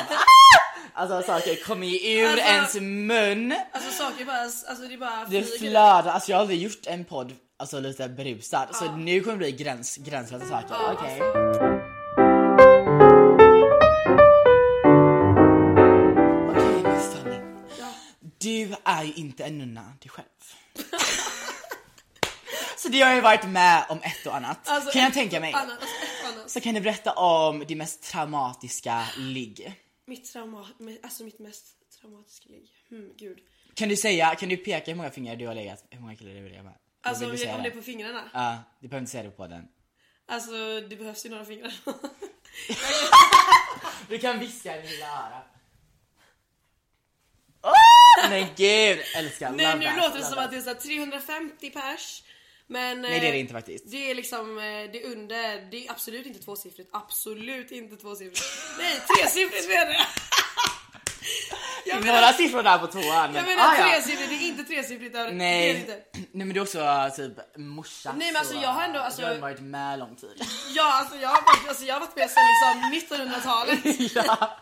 Speaker 1: Alltså saker kommer ju ur
Speaker 2: Alltså-
Speaker 1: ens mun.
Speaker 2: Alltså saker är bara, alltså det är bara
Speaker 1: Det
Speaker 2: flyger.
Speaker 1: flödar, alltså jag har aldrig gjort en podd alltså lite berusad. Så nu kommer det bli gräns, gränslösa saker. Okej. Okej men Fanny. Du är ju inte en nunna dig själv. så det har ju varit med om ett och annat.
Speaker 2: Alltså,
Speaker 1: kan jag
Speaker 2: ett
Speaker 1: tänka
Speaker 2: och
Speaker 1: mig.
Speaker 2: Annat, alltså, ett och annat.
Speaker 1: Så kan du berätta om din mest traumatiska ligg.
Speaker 2: Mitt trauma, alltså mitt mest traumatiska ligg. Hmm, gud.
Speaker 1: Kan du säga, kan du peka hur många fingrar du har legat, hur många killar du har legat med? Eller
Speaker 2: Alltså
Speaker 1: vill
Speaker 2: om
Speaker 1: du säga
Speaker 2: det är
Speaker 1: det?
Speaker 2: på fingrarna.
Speaker 1: Ja, du behöver inte säga det på den.
Speaker 2: Alltså det behövs ju några fingrar.
Speaker 1: Du kan viska i mitt lilla öra. Ah! Men gud, älskar.
Speaker 2: Nej
Speaker 1: love
Speaker 2: nu
Speaker 1: that,
Speaker 2: låter det
Speaker 1: love
Speaker 2: som
Speaker 1: that.
Speaker 2: att det är så här 350 pers. Men eh,
Speaker 1: Nej det är det inte faktiskt.
Speaker 2: Det är liksom, eh, det är under, det är absolut inte tvåsiffrigt. Absolut inte tvåsiffrigt. Nej, tresiffrigt menar jag!
Speaker 1: Det
Speaker 2: Jag
Speaker 1: är några
Speaker 2: menar,
Speaker 1: siffror där på tvåan.
Speaker 2: jag
Speaker 1: Men,
Speaker 2: menar
Speaker 1: ah, ja.
Speaker 2: tresiffrigt, det är inte tresiffrigt. där. Det är det
Speaker 1: Nej.
Speaker 2: inte.
Speaker 1: Nej men du är också äh, typ morsa.
Speaker 2: Nej, men alltså,
Speaker 1: så,
Speaker 2: jag har ändå,
Speaker 1: äh,
Speaker 2: alltså,
Speaker 1: du har
Speaker 2: jag-
Speaker 1: varit med lång tid.
Speaker 2: Ja, alltså jag har varit, alltså, jag har varit med sedan liksom 1900-talet.
Speaker 1: ja.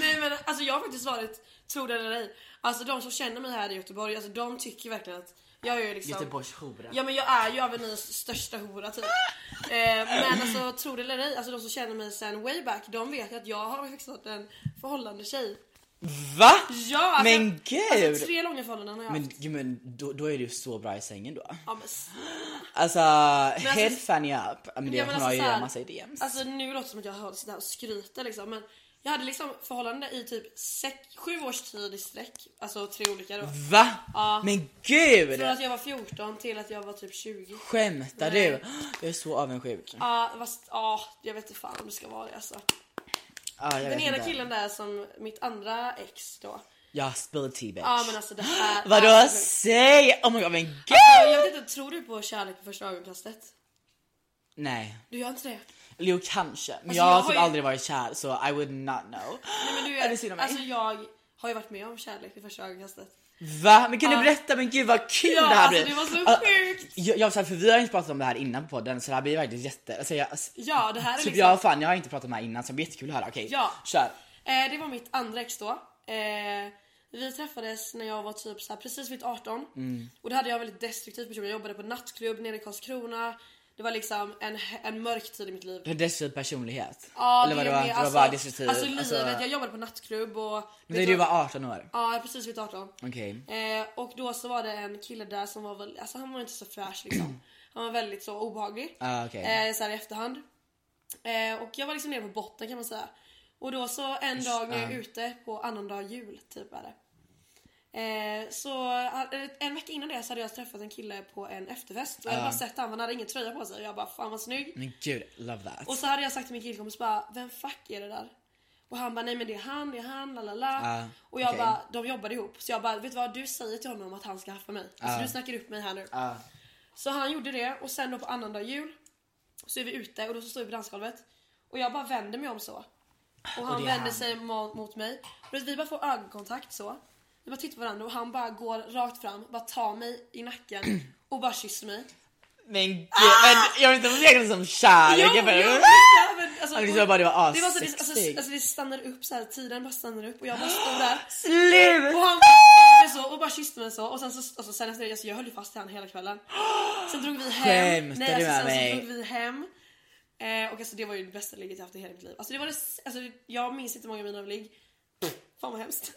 Speaker 2: Nej men alltså jag har faktiskt varit, tro det eller ej, alltså de som känner mig här i Göteborg, alltså de tycker verkligen att jag är ju liksom
Speaker 1: Göteborgshora.
Speaker 2: Ja men jag är ju Avenyrs största hora typ. eh, men alltså tro det eller ej, alltså de som känner mig sen way back, de vet ju att jag har faktiskt varit en förhållande tjej.
Speaker 1: Va?
Speaker 2: Ja, alltså,
Speaker 1: Men gud!
Speaker 2: Alltså, tre långa förhållanden har jag
Speaker 1: Men,
Speaker 2: haft.
Speaker 1: gud, men då, då är du så bra i sängen då.
Speaker 2: Ja, men, s-
Speaker 1: Alltså, head fanny up. Ja, Men det,
Speaker 2: ja, men alltså,
Speaker 1: hon har ju
Speaker 2: så här,
Speaker 1: en massa DMs.
Speaker 2: Alltså nu låter det som att jag har sitter här och skryter liksom men jag hade liksom förhållande i typ sex, sju års tid i sträck, alltså tre olika då.
Speaker 1: Va?
Speaker 2: Ja.
Speaker 1: Men gud!
Speaker 2: Från att jag var 14 till att jag var typ 20.
Speaker 1: Skämtar
Speaker 2: Nej.
Speaker 1: du? Jag är så avundsjuk. Ja,
Speaker 2: Ja, fast ja, jag vet inte fan om det ska vara det alltså.
Speaker 1: jag
Speaker 2: Den
Speaker 1: vet
Speaker 2: ena
Speaker 1: inte.
Speaker 2: killen där som mitt andra ex då.
Speaker 1: Jag spilled tea bitch.
Speaker 2: Ja men alltså det här är
Speaker 1: Vadå
Speaker 2: så sjukt.
Speaker 1: säg? Oh my god men gud!
Speaker 2: Alltså, Jag vet inte, tror du på kärlek på första ögonkastet?
Speaker 1: Nej.
Speaker 2: Du gör inte det?
Speaker 1: Eller Jo kanske. Men
Speaker 2: Alltså,
Speaker 1: jag
Speaker 2: jag
Speaker 1: har
Speaker 2: har
Speaker 1: typ
Speaker 2: ju-
Speaker 1: aldrig varit kär så I would not know.
Speaker 2: Nej, men du
Speaker 1: Ja, det är synd om mig.
Speaker 2: Alltså jag har ju varit med om kärlek vid första ögonkastet.
Speaker 1: Va? Men kan du
Speaker 2: Ja.
Speaker 1: berätta? Men gud vad kul
Speaker 2: Ja
Speaker 1: det här
Speaker 2: alltså
Speaker 1: blir!
Speaker 2: det var så
Speaker 1: Alltså,
Speaker 2: sjukt!
Speaker 1: jag, jag, var så här, för vi har inte pratat om det här innan på podden så det här blir verkligen jätte... Alltså, jag, alltså,
Speaker 2: Ja det här är
Speaker 1: typ
Speaker 2: liksom...
Speaker 1: jag, fan, jag har inte pratat om det här innan så det blir jättekul att höra. Okej,
Speaker 2: Ja.
Speaker 1: kör!
Speaker 2: Eh, det var mitt andra ex då. Eh, vi träffades när jag var typ så här, precis vid 18.
Speaker 1: Mm.
Speaker 2: Och då hade jag en väldigt destruktiv person. Jag jobbade på nattklubb nere i Karlskrona. Det var liksom en, en mörk tid i mitt liv.
Speaker 1: Du har destruktiv personlighet.
Speaker 2: Ja,
Speaker 1: Eller vad det var?
Speaker 2: med-
Speaker 1: det var bara destruktiv.
Speaker 2: Alltså livet, jag jobbade på nattklubb och...
Speaker 1: när du var 18 år?
Speaker 2: Ja, precis vid 18.
Speaker 1: Okej.
Speaker 2: Eh, och då så var det en kille där som var väl, alltså han var inte så fräsch liksom. Han var väldigt så obehaglig.
Speaker 1: Ah, okej.
Speaker 2: eh, så här i efterhand. Eh, och jag var liksom nere på botten kan man säga. Och då så en dag när jag är
Speaker 1: ah.
Speaker 2: ute på annandag jul typ är det. Eh, så eh, en vecka innan det så hade jag träffat en kille på en efterfest. Och
Speaker 1: Ah.
Speaker 2: jag hade bara sett han, han hade ingen tröja på sig. Och jag bara fan vad snygg.
Speaker 1: Men gud, love that.
Speaker 2: Och så hade jag sagt till min killkompis bara, vem fuck är det där? Och han bara, nej men det är han, det är han, la la la.
Speaker 1: Ah,
Speaker 2: Och jag
Speaker 1: okej.
Speaker 2: bara, de jobbade ihop. Så jag bara, vet du vad? Du säger till honom att han ska haffa mig. Alltså du snackar upp mig här nu.
Speaker 1: Ah.
Speaker 2: Så han gjorde det och sen då på annandag jul så är vi ute och då så står vi på dansgolvet. Och jag bara vänder mig om så. Och han
Speaker 1: det är
Speaker 2: vänder
Speaker 1: han.
Speaker 2: sig mo- mot mig. Och vi bara får ögonkontakt så. Vi bara tittar på varandra och han bara går rakt fram, bara tar mig i nacken och bara kysser mig.
Speaker 1: Men gud, men jag vet inte om jag det som kärlek. jag bara,
Speaker 2: Ah! Jo, jo, ja, men alltså,
Speaker 1: Han liksom bara, det var
Speaker 2: det var så, det, alltså,
Speaker 1: assexig.
Speaker 2: alltså det stannar upp så här, tiden bara stannar upp och jag bara stod där och
Speaker 1: Slut!
Speaker 2: han bara kysste mig så och bara kysste mig så och sen så, alltså, sen efter det, alltså, jag höll ju fast i han hela kvällen. Sen drog vi hem,
Speaker 1: Skämtar
Speaker 2: nej
Speaker 1: du med
Speaker 2: alltså, sen
Speaker 1: mig?
Speaker 2: så drog vi hem. Eh, och alltså det var ju det bästa ligget jag haft i hela mitt liv. Alltså det var det, s- alltså jag minns inte många av mina ligg. Fan vad hemskt.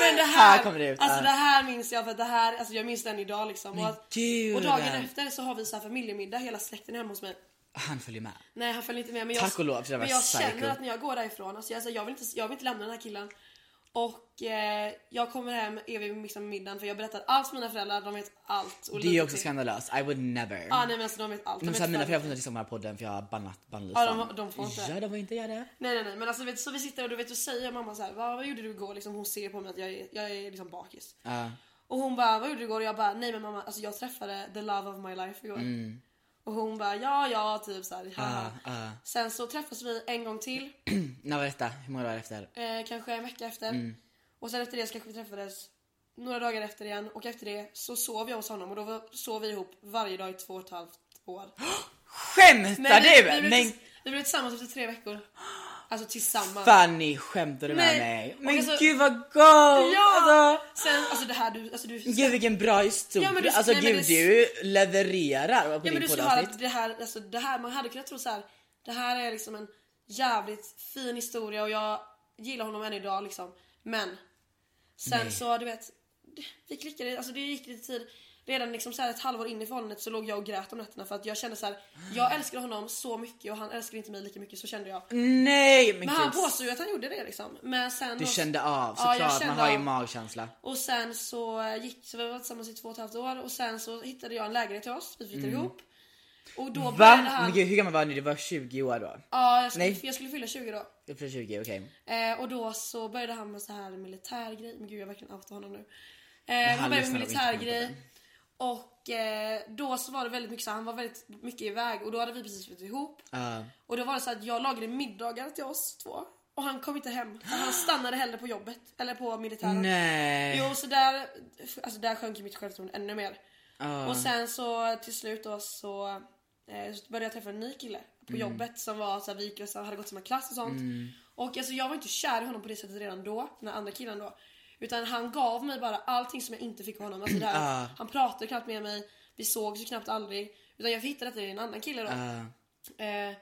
Speaker 2: Men det här,
Speaker 1: Här kommer det ut,
Speaker 2: alltså
Speaker 1: ja.
Speaker 2: det här minns jag för att det här, alltså jag minns den idag liksom. Och, att,
Speaker 1: gud.
Speaker 2: och dagen efter så har vi så här familjemiddag, hela släkten är hemma hos mig.
Speaker 1: Han följer med.
Speaker 2: Nej han följer inte med men
Speaker 1: Tack och
Speaker 2: jag,
Speaker 1: lov, för jag var
Speaker 2: men jag
Speaker 1: psycho.
Speaker 2: känner att när jag går därifrån, alltså jag, alltså, jag, vill inte, jag vill inte lämna den här killen. Och eh, jag kommer hem, är vid liksom middagen för jag berättar allt för mina föräldrar, de vet allt. Och
Speaker 1: Det är ju
Speaker 2: lite
Speaker 1: också
Speaker 2: till.
Speaker 1: skandalöst, I would never.
Speaker 2: Ja ah, nej men alltså de vet allt. De
Speaker 1: men
Speaker 2: vet
Speaker 1: så här, mina
Speaker 2: fan-
Speaker 1: föräldrar får inte lyssna på den här podden för jag har bannat bannlyst
Speaker 2: Ja, de-
Speaker 1: dem.
Speaker 2: de får inte.
Speaker 1: Ja de får inte göra det.
Speaker 2: Nej nej nej men alltså vet, så vi sitter och du vet och säger mamma så här, vad, vad gjorde du igår? Liksom, hon ser på mig att jag är, jag är liksom bakis.
Speaker 1: Ja.
Speaker 2: Och hon bara, vad gjorde du igår? Och jag bara, nej men mamma alltså jag träffade the love of my life igår.
Speaker 1: Mm.
Speaker 2: Och hon bara, ja ja typ såhär.
Speaker 1: Ja,
Speaker 2: haha.
Speaker 1: ja.
Speaker 2: Sen så träffas vi en gång till.
Speaker 1: När var detta? Hur många dagar efter?
Speaker 2: eh, kanske en vecka efter.
Speaker 1: Mm.
Speaker 2: Och sen efter det så kanske vi träffades några dagar efter igen och efter det så sov jag hos honom och då var- sov vi ihop varje dag i två och ett halvt år.
Speaker 1: Skämtar
Speaker 2: vi,
Speaker 1: du?
Speaker 2: vi, blev
Speaker 1: men
Speaker 2: tills- vi blev tillsammans efter tre veckor. Alltså tillsammans.
Speaker 1: Fanny skämtar du med
Speaker 2: Nej,
Speaker 1: mig?
Speaker 2: och
Speaker 1: Men
Speaker 2: alltså-
Speaker 1: gud vad gott!
Speaker 2: Ja!
Speaker 1: Alltså,
Speaker 2: Sen, alltså det här du, alltså du
Speaker 1: gud vilken bra historia.
Speaker 2: Ja, men du-
Speaker 1: alltså
Speaker 2: nej, men
Speaker 1: gud
Speaker 2: du-
Speaker 1: du levererar på
Speaker 2: Ja men du
Speaker 1: din
Speaker 2: ska höra
Speaker 1: poddavsnitt.
Speaker 2: att det här, alltså det här, man hade kunnat tro så här. Det här är liksom en jävligt fin historia och jag gillar honom än idag liksom. Men. Sen så du vet, det- vi klickade, alltså det gick lite tid. redan liksom så här ett halvår in i förhållandet så låg jag och grät om nätterna för att jag kände så här. jag älskade honom så mycket och han älskade inte mig lika mycket så kände jag.
Speaker 1: Mm, Nej men,
Speaker 2: Men han
Speaker 1: gud.
Speaker 2: påstod ju att han gjorde det liksom. Men sen
Speaker 1: Du
Speaker 2: då-
Speaker 1: kände av
Speaker 2: Ja, jag
Speaker 1: såklart, man
Speaker 2: kände
Speaker 1: har ju
Speaker 2: av.
Speaker 1: magkänsla.
Speaker 2: Och sen så gick, så vi var tillsammans i två och ett halvt år och sen så hittade jag en lägenhet till oss, vi flyttade ihop. Och då började
Speaker 1: Mm. Va? Men
Speaker 2: han...
Speaker 1: gud, hur gammal var ni? Du var 20 år då?
Speaker 2: Ja, jag skulle,
Speaker 1: Nej.
Speaker 2: jag skulle fylla 20 då.
Speaker 1: Du var 20, okej.
Speaker 2: Eh, och då så började han med så här militärgrej. Men gud jag verkligen outar honom nu. Eh, han började med
Speaker 1: lyssnar nog inte på
Speaker 2: militärgrej.
Speaker 1: podden.
Speaker 2: Och eh, då så var det väldigt mycket så här, han var väldigt mycket iväg och då hade vi precis flyttat ihop.
Speaker 1: Ja.
Speaker 2: Och då var det så att jag lagade middagar till oss två. Och han kom inte hem. För han stannade hellre på jobbet. Eller på militären.
Speaker 1: Nej.
Speaker 2: Jo så där, alltså där sjönk ju mitt självförtroende ännu mer.
Speaker 1: Ja.
Speaker 2: Och sen så till slut då så eh, så började jag träffa en ny kille på
Speaker 1: Mm.
Speaker 2: jobbet som var så här, vi gick och så hade gått samma klass och sånt. Och alltså, jag var inte kär i honom på det sättet redan då, den här andra killen då. Utan han gav mig bara allting som jag inte fick av honom. Alltså, det här,
Speaker 1: Ah.
Speaker 2: Han pratade knappt med mig, vi sågs ju knappt aldrig. Utan jag hittade detta i en annan kille då.
Speaker 1: Ja.
Speaker 2: Eh,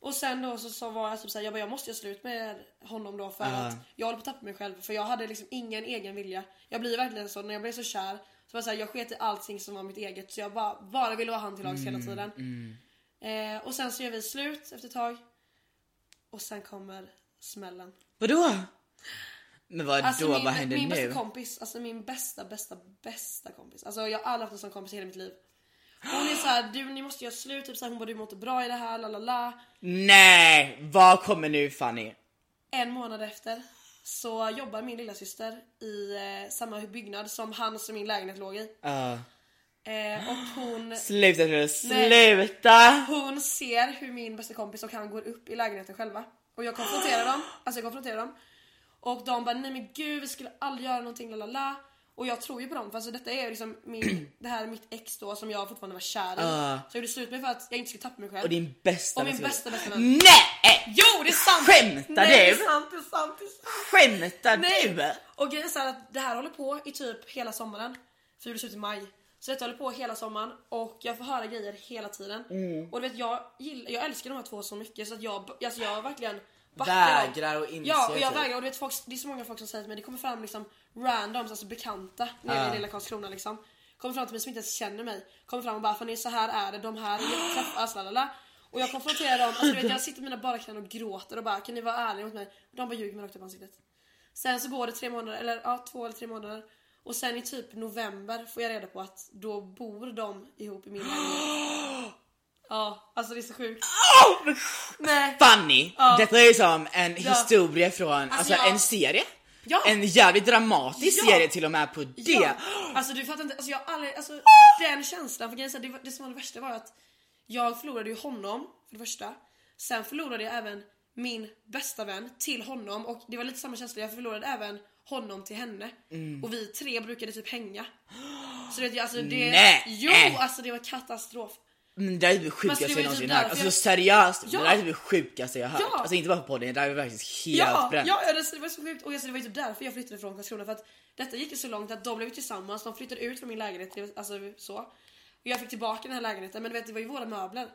Speaker 2: och sen då så, så var jag typ såhär, jag, bara, jag måste göra slut med honom då för att jag håller på att tappa mig själv. För jag hade liksom ingen egen vilja. Jag blir verkligen så, när jag blev så kär så var det så här, jag sket i allting som var mitt eget. Så jag bara, bara ville vara han till lags
Speaker 1: Mm,
Speaker 2: hela tiden. Eh, och sen så gör vi slut efter ett tag. Och sen kommer smällen.
Speaker 1: Vadå? Men vad
Speaker 2: Alltså
Speaker 1: då?
Speaker 2: min,
Speaker 1: vad händer
Speaker 2: min
Speaker 1: nu?
Speaker 2: bästa kompis, alltså min bästa, bästa, bästa kompis. Alltså jag har aldrig haft en sån kompis i hela mitt liv. Hon är såhär, du ni måste göra slut, typ så här, hon bara du mår inte bra i det här, la la la.
Speaker 1: Nej, vad kommer nu Fanny?
Speaker 2: En månad efter så jobbar min lilla syster i eh, samma byggnad som han som min lägenhet låg i.
Speaker 1: Ja.
Speaker 2: Eh, och hon,
Speaker 1: Sluta nu,
Speaker 2: Nej.
Speaker 1: sluta!
Speaker 2: hon ser hur min bästa kompis och han går upp i lägenheten själva. Och jag konfronterar dem, alltså jag konfronterar dem. Och de bara nej men gud vi skulle aldrig göra någonting la la la. Och jag tror ju på dem för alltså detta är ju liksom min, det här är mitt ex då som jag fortfarande var kär i.
Speaker 1: Ah.
Speaker 2: Så jag gjorde slut med för att jag inte skulle tappa mig själv.
Speaker 1: Och din bästa
Speaker 2: Och min
Speaker 1: vän.
Speaker 2: bästa, bästa vän.
Speaker 1: Nej!
Speaker 2: Jo det är sant!
Speaker 1: Skämtar
Speaker 2: nej, det är
Speaker 1: du?
Speaker 2: sant, det är sant, det är sant.
Speaker 1: Skämtar du?
Speaker 2: Och grejen är så här att det här håller på i typ hela sommaren. För vi gjorde slut i maj. Så detta håller på hela sommaren och jag får höra grejer hela tiden. Och du vet jag, gillar, jag älskar de här två så mycket så att jag, alltså jag verkligen backar dem.
Speaker 1: Vägrar och inser
Speaker 2: Ah, Ja och jag
Speaker 1: typ.
Speaker 2: vägrar och du vet folk, det är så många folk som säger till mig, det kommer fram liksom randoms, alltså bekanta nere i lilla Karlskrona liksom. Kommer fram till mig som inte ens känner mig. Kommer fram och bara Fanny så här är det, de här är- träffas, lalala. Och jag konfronterar dem, alltså du vet jag sitter med mina bara knän och gråter och bara kan ni vara ärliga mot mig? Och de bara ljuger mig rakt upp i ansiktet. Sen så går det tre månader, eller ja, två eller tre månader. Och sen i typ november får jag reda på att då bor de ihop i min lägenhet. Ja, alltså det är så sjukt. Nej.
Speaker 1: Fanny, detta är ju som en historia från alltså,
Speaker 2: Alltså, jag-
Speaker 1: en serie.
Speaker 2: Ja.
Speaker 1: En jävligt dramatisk
Speaker 2: Ja.
Speaker 1: serie till och med på det.
Speaker 2: Ja. Alltså du fattar inte, alltså jag har aldrig, alltså den känslan, för grejen är så här, det, var- det som var det värsta var ju att jag förlorade ju honom för det första. Sen förlorade jag även min bästa vän till honom och det var lite samma känsla, jag förlorade även honom till henne.
Speaker 1: Mm.
Speaker 2: Och vi tre brukade typ hänga. Så det, alltså det,
Speaker 1: Nej.
Speaker 2: jo alltså det var katastrof.
Speaker 1: Men det där är typ det
Speaker 2: Men så
Speaker 1: sjukaste
Speaker 2: det
Speaker 1: jag
Speaker 2: var ju
Speaker 1: någonsin
Speaker 2: typ
Speaker 1: hört.
Speaker 2: därför
Speaker 1: Alltså
Speaker 2: jag-
Speaker 1: seriöst,
Speaker 2: Ja.
Speaker 1: det där är typ det sjukaste jag har hört.
Speaker 2: Ja.
Speaker 1: Alltså inte bara på podden, det där är faktiskt helt
Speaker 2: Ja,
Speaker 1: bränt.
Speaker 2: ja, ja det, det var så sjukt. Och jag, det var ju typ därför jag flyttade från Karlskrona. För att detta gick ju så långt att de blev ju tillsammans, de flyttade ut från min lägenhet. det var- Alltså så. Och jag fick tillbaka den här lägenheten men du vet det var ju våra möbler.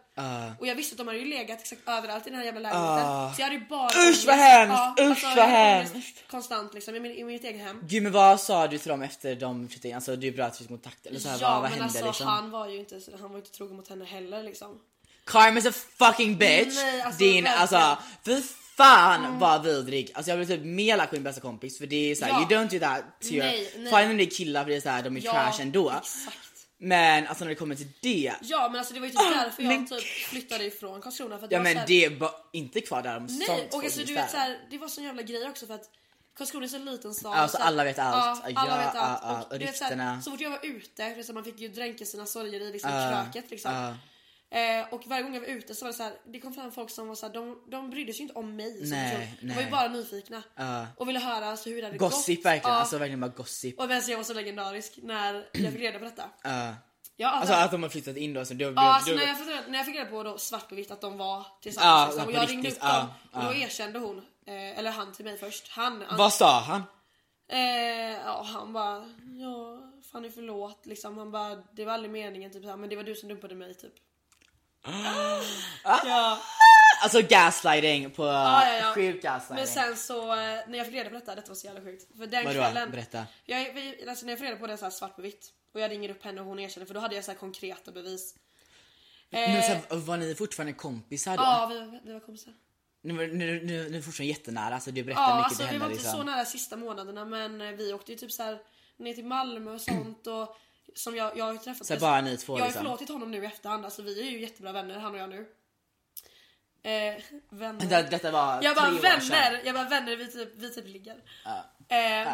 Speaker 2: Och jag visste att de hade ju legat exakt överallt i den här jävla lägenheten.
Speaker 1: Ah.
Speaker 2: Så jag hade ju bara
Speaker 1: Usch, vad
Speaker 2: ångest.
Speaker 1: hemskt! Usch,
Speaker 2: jag
Speaker 1: vad
Speaker 2: hade ångest
Speaker 1: hemskt!
Speaker 2: Konstant liksom i, min, i mitt eget hem.
Speaker 1: Gud men vad sa du till dem efter de flyttade in? Alltså det är bra att vi fick kontakt eller så här, vad, vad hände
Speaker 2: alltså
Speaker 1: liksom?
Speaker 2: han var ju inte han var ju inte trogen mot henne heller liksom.
Speaker 1: Carmen's a fucking bitch!
Speaker 2: Nej, alltså,
Speaker 1: Din
Speaker 2: verkligen. Mm.
Speaker 1: alltså, fy fan vad vidrig! Alltså jag blev typ mer lack på min bästa kompis för det är såhär
Speaker 2: Ja.
Speaker 1: you don't do that to your...
Speaker 2: Nej, nej.
Speaker 1: Fine om det är killar för det är såhär de är trash ändå.
Speaker 2: Exakt.
Speaker 1: Men alltså när det kommer till det,
Speaker 2: Ja men alltså det var ju typ därför
Speaker 1: Ah, men
Speaker 2: jag typ flyttade ifrån Karlskrona. För att det
Speaker 1: ja
Speaker 2: var så
Speaker 1: men
Speaker 2: här-
Speaker 1: det var inte kvar där om
Speaker 2: Nej,
Speaker 1: sånt
Speaker 2: och
Speaker 1: folk
Speaker 2: alltså, du
Speaker 1: finns
Speaker 2: vet,
Speaker 1: där.
Speaker 2: så här, det var sån jävla grej också för att Karlskrona är så liten stad.
Speaker 1: Alltså,
Speaker 2: så här-
Speaker 1: alla vet allt.
Speaker 2: Ja, alla
Speaker 1: Ja,
Speaker 2: vet allt.
Speaker 1: ja, ja,
Speaker 2: och, du vet, så, här,
Speaker 1: ryktena.
Speaker 2: så fort jag var ute, liksom, man fick ju dränka sina sorger i liksom,
Speaker 1: Ja,
Speaker 2: kröket. Liksom. Eh, och varje gång jag var ute så var det så här, det kom fram folk som var så här, de, de brydde sig ju inte om mig. Som
Speaker 1: Nej,
Speaker 2: person. De var
Speaker 1: nej.
Speaker 2: ju bara nyfikna. Och ville höra alltså, hur det hade
Speaker 1: Gossip
Speaker 2: gått.
Speaker 1: verkligen,
Speaker 2: Ja,
Speaker 1: alltså verkligen bara gossip.
Speaker 2: Och vem jag var så legendarisk när jag fick reda på detta.
Speaker 1: Ja.
Speaker 2: Jag har
Speaker 1: Alltså
Speaker 2: aldrig-
Speaker 1: att de har flyttat in då, alltså, då, då,
Speaker 2: Ja, alltså
Speaker 1: då
Speaker 2: när, jag fick, reda- när jag fick reda på då, svart på vitt att de var tillsammans
Speaker 1: Ja,
Speaker 2: liksom,
Speaker 1: på
Speaker 2: och jag ringde upp
Speaker 1: riktigt,
Speaker 2: dem
Speaker 1: ja,
Speaker 2: och då
Speaker 1: ja.
Speaker 2: erkände hon, eh, eller han till mig först, han, han,
Speaker 1: Vad sa han?
Speaker 2: eh, ja, han bara ja Fanny förlåt liksom, han bara det var aldrig meningen typ så här, men det var du som dumpade mig typ. ja.
Speaker 1: Alltså gaslighting på
Speaker 2: Ja, ja, ja.
Speaker 1: sjuk gaslighting.
Speaker 2: Men sen så, eh, när jag fick reda på detta, detta var så jävla sjukt. För den
Speaker 1: Vadå?
Speaker 2: kvällen.
Speaker 1: Berätta.
Speaker 2: Jag, vi, alltså när jag fick reda på det så här svart på vitt. Och jag ringer upp henne och hon erkänner för då hade jag så här konkreta bevis. Eh,
Speaker 1: nu, så här, var ni fortfarande kompisar då?
Speaker 2: Ja, vi, vi var kompisar.
Speaker 1: Nu, nu, nu, nu är ni fortfarande jättenära, alltså du berättar
Speaker 2: Ja,
Speaker 1: mycket
Speaker 2: alltså
Speaker 1: till
Speaker 2: vi
Speaker 1: henne
Speaker 2: var inte
Speaker 1: liksom.
Speaker 2: så nära sista månaderna men eh, vi åkte ju typ så här ner till Malmö och sånt och som jag, jag har ju träffat
Speaker 1: Så här, bara ni två
Speaker 2: Jag har ju
Speaker 1: liksom.
Speaker 2: förlåtit honom nu i efterhand, alltså vi är ju jättebra vänner han och jag nu. Eh, vänner.
Speaker 1: Det, detta var
Speaker 2: jag bara
Speaker 1: tre år sedan.
Speaker 2: vänner, jag bara vänner vi typ, vi typ ligger. Eh,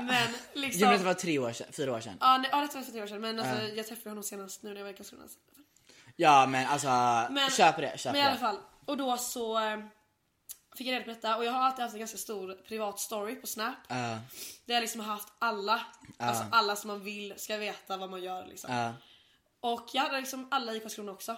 Speaker 2: men liksom.
Speaker 1: Jo men det var tre år sedan, fyra år sedan.
Speaker 2: Ja, nej, ja det var för tre år sedan men alltså, jag träffade honom senast nu när jag var i Karlskrona.
Speaker 1: Ja men alltså,
Speaker 2: Men,
Speaker 1: köp det, köp
Speaker 2: men i alla
Speaker 1: det.
Speaker 2: fall. Och då så eh, fick jag reda på detta och jag har alltid haft en ganska stor privat story på snap.
Speaker 1: Ja.
Speaker 2: Där jag liksom har haft alla, alltså alla som man vill ska veta vad man gör liksom.
Speaker 1: Ja.
Speaker 2: Och jag hade liksom alla i Karlskrona också.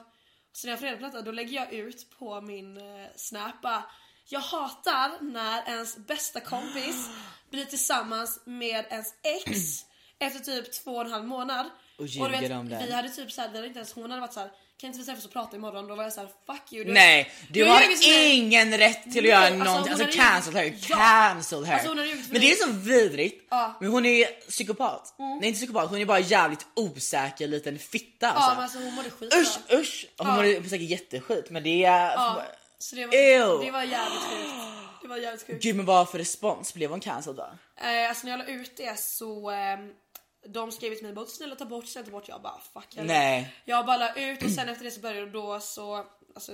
Speaker 2: Så när jag får reda på detta då lägger jag ut på min eh, snap bara, Jag hatar när ens bästa kompis blir tillsammans med ens ex efter typ två och en halv månad.
Speaker 1: Och
Speaker 2: du
Speaker 1: ljuger
Speaker 2: vet,
Speaker 1: om det.
Speaker 2: Vi hade typ såhär, vi hade inte ens, hon hade varit såhär kan inte vi träffas och prata imorgon? Då var jag såhär fuck you. Du,
Speaker 1: Nej, du
Speaker 2: har
Speaker 1: har
Speaker 2: ljugit för mig.
Speaker 1: ingen rätt till att
Speaker 2: Nej,
Speaker 1: göra
Speaker 2: alltså,
Speaker 1: någonting.
Speaker 2: hon
Speaker 1: Alltså
Speaker 2: har
Speaker 1: cancel her,
Speaker 2: ljugit. Ja.
Speaker 1: cancel her.
Speaker 2: Alltså, hon har ljugit för
Speaker 1: men
Speaker 2: mig.
Speaker 1: det är så vidrigt.
Speaker 2: Ja. Mm.
Speaker 1: Men hon är ju psykopat. Nej inte psykopat, hon är bara jävligt osäker liten fitta
Speaker 2: Ja
Speaker 1: alltså.
Speaker 2: men alltså hon mådde skit
Speaker 1: Usch
Speaker 2: då.
Speaker 1: usch! Hon
Speaker 2: Ja.
Speaker 1: mår säkert jätteskit men det är...
Speaker 2: Ja, så det var,
Speaker 1: Ew.
Speaker 2: det var jävligt sjukt. Det var jävligt sjukt.
Speaker 1: Gud men vad för respons blev hon cancelled då?
Speaker 2: Eh, alltså när jag la ut det så ehm, de skrev till mig bara snälla ta bort, snälla ta bort. Jag bara fuck hell.
Speaker 1: Nej.
Speaker 2: Jag bara la ut och sen efter det så började det då så alltså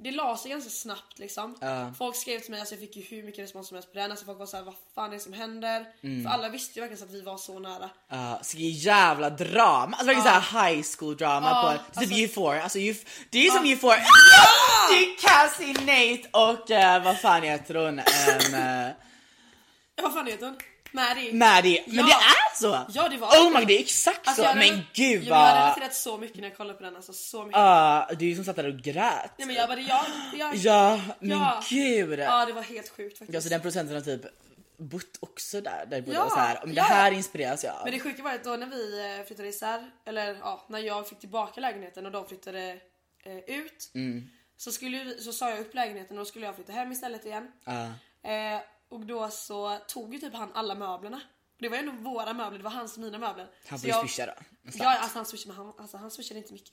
Speaker 2: det la sig ganska snabbt liksom.
Speaker 1: Ja.
Speaker 2: Folk skrev till mig, alltså jag fick ju hur mycket respons som helst på den. Alltså folk var såhär vad fan är det som händer?
Speaker 1: Mm.
Speaker 2: För alla visste ju verkligen så att vi var så nära.
Speaker 1: Uh, så det är jävla drama, alltså verkligen såhär high school drama
Speaker 2: Ja,
Speaker 1: på typ
Speaker 2: alltså-
Speaker 1: Euphoria, alltså Euf- det är ju som Euphoria. Det är Cassie, Nate och eh, vad fan heter hon? Um, eh,
Speaker 2: Ja, vad fan heter hon? Mary.
Speaker 1: Maddie. Men
Speaker 2: Ja.
Speaker 1: det är så!
Speaker 2: Ja, det var
Speaker 1: Oh
Speaker 2: det.
Speaker 1: my god det är exakt
Speaker 2: Alltså,
Speaker 1: så,
Speaker 2: jag
Speaker 1: men
Speaker 2: rela-
Speaker 1: gud
Speaker 2: Ja, men Jag
Speaker 1: vad...
Speaker 2: har relaterat så mycket när jag kollar på den alltså så mycket.
Speaker 1: Ja, du är ju som satt där och grät.
Speaker 2: Nej men jag bara jag, jag
Speaker 1: Ja, men
Speaker 2: Ja.
Speaker 1: gud!
Speaker 2: Ja det var helt sjukt faktiskt.
Speaker 1: Ja, så den producenten har typ bott också där, där det borde
Speaker 2: Ja,
Speaker 1: vara så här. om
Speaker 2: ja,
Speaker 1: det
Speaker 2: ja.
Speaker 1: här inspireras jag av.
Speaker 2: Men det sjuka var att då när vi eh, flyttade isär, eller ja, när jag fick tillbaka lägenheten och de flyttade eh, ut.
Speaker 1: Mm.
Speaker 2: Så, skulle, ju vi- så sa jag upp lägenheten och då skulle jag flytta hem istället igen.
Speaker 1: Ja.
Speaker 2: Eh, och då så tog ju typ han alla möblerna. Det var ju ändå våra möbler, det var hans och mina möbler.
Speaker 1: Han
Speaker 2: Så
Speaker 1: får ju
Speaker 2: jag-
Speaker 1: swisha då.
Speaker 2: Ja, alltså han swishade, men han, alltså, han swishade inte mycket.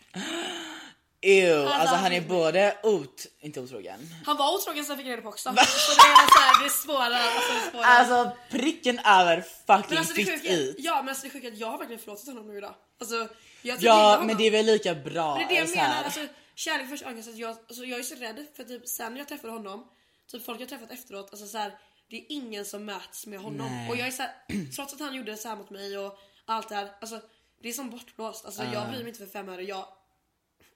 Speaker 1: Ew, alltså,
Speaker 2: Alltså,
Speaker 1: han
Speaker 2: han-
Speaker 1: är både ot... inte otrogen.
Speaker 2: Han var otrogen så jag fick reda på också. så det är så här, det är svårare. Alltså, det är svårare.
Speaker 1: Alltså pricken över fucking
Speaker 2: men alltså, det
Speaker 1: fitt
Speaker 2: sjuka,
Speaker 1: i.
Speaker 2: ja men alltså det sjuka är att jag har verkligen förlåtit honom nu idag. Alltså, jag tycker illa
Speaker 1: Ja
Speaker 2: om
Speaker 1: men
Speaker 2: honom.
Speaker 1: det är väl lika bra.
Speaker 2: Men det är det
Speaker 1: så
Speaker 2: jag menar,
Speaker 1: här.
Speaker 2: alltså, kärlek först ångest. Alltså, jag, alltså, jag är så rädd för typ, sen när jag träffade honom, typ folk jag träffat efteråt, alltså, så här, det är ingen som mäts med honom.
Speaker 1: Nej.
Speaker 2: Och jag är så här, trots att han gjorde så här mot mig och allt det här, alltså, det är som bortblåst. Alltså, Jag bryr mig inte för fem öre. Jag,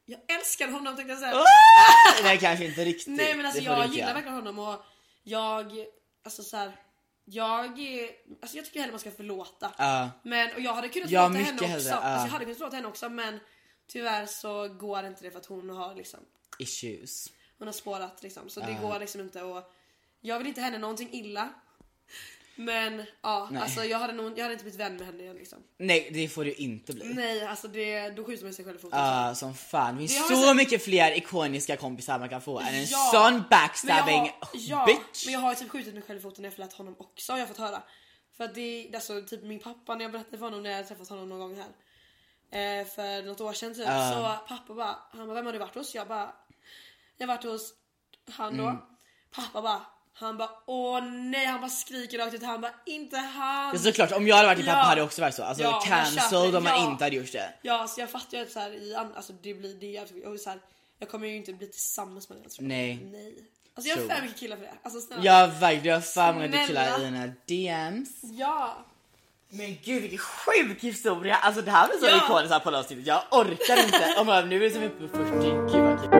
Speaker 2: jag älskar honom tänkte jag säga.
Speaker 1: Nej kanske inte riktigt.
Speaker 2: Nej men alltså
Speaker 1: Typ. Det får du
Speaker 2: jag
Speaker 1: inte
Speaker 2: gillar
Speaker 1: göra.
Speaker 2: verkligen honom och jag, alltså så här, jag, är- alltså jag tycker hellre man ska förlåta.
Speaker 1: Ja.
Speaker 2: Men, och jag hade kunnat
Speaker 1: Ja,
Speaker 2: förlåta henne
Speaker 1: mycket
Speaker 2: också.
Speaker 1: hellre, ja.
Speaker 2: Alltså jag hade kunnat förlåta henne också men tyvärr så går inte det för att hon har liksom,
Speaker 1: Issues.
Speaker 2: hon har spårat liksom. Så det går liksom inte och jag vill inte henne någonting illa. Men ja, alltså jag hade, nog, jag hade inte blivit vän med henne igen liksom.
Speaker 1: Nej det får du inte bli.
Speaker 2: Nej alltså det, då skjuter man sig själv i foten.
Speaker 1: Mm. Ja, Ah, som fan. Det
Speaker 2: Det har
Speaker 1: finns
Speaker 2: vi
Speaker 1: så
Speaker 2: sett-
Speaker 1: mycket fler ikoniska kompisar man kan få än en
Speaker 2: Ja.
Speaker 1: sån
Speaker 2: Men jag har-
Speaker 1: backstabbing
Speaker 2: ja,
Speaker 1: bitch.
Speaker 2: Men jag har ju typ skjutit mig själv i foten när jag förlät honom också har jag fått höra. För att det är alltså typ min pappa när jag berättade för honom när jag träffat honom någon gång här. Eh, för något år sedan typ.
Speaker 1: Ah.
Speaker 2: Så pappa bara, han bara vem har du varit hos? Jag bara, jag har varit hos han då.
Speaker 1: Mm.
Speaker 2: Pappa bara, han bara åh nej han bara skriker rakt ut han bara inte han.
Speaker 1: Ja, Såklart om jag hade varit din pappa
Speaker 2: Ja.
Speaker 1: hade jag också varit så. Alltså
Speaker 2: Ja, men
Speaker 1: cancelled
Speaker 2: köper-
Speaker 1: om man
Speaker 2: ja.
Speaker 1: inte hade gjort det.
Speaker 2: Ja så jag fattar ju att så här, i an- alltså det blir det är jävligt och så här, jag kommer ju inte bli tillsammans med den jag tror.
Speaker 1: Nej.
Speaker 2: Nej. Alltså jag
Speaker 1: True.
Speaker 2: har för mycket killar för det. Alltså snälla.
Speaker 1: Jag verkligen, du har fan många
Speaker 2: Snälla.
Speaker 1: killar i dina DMs.
Speaker 2: ja.
Speaker 1: Men gud vilken sjuk historia! Alltså det här blir så
Speaker 2: Ja.
Speaker 1: ikoniskt här på avsnittet. Jag orkar inte. Om jag, nu är vi som uppe på 40, gud vad kul.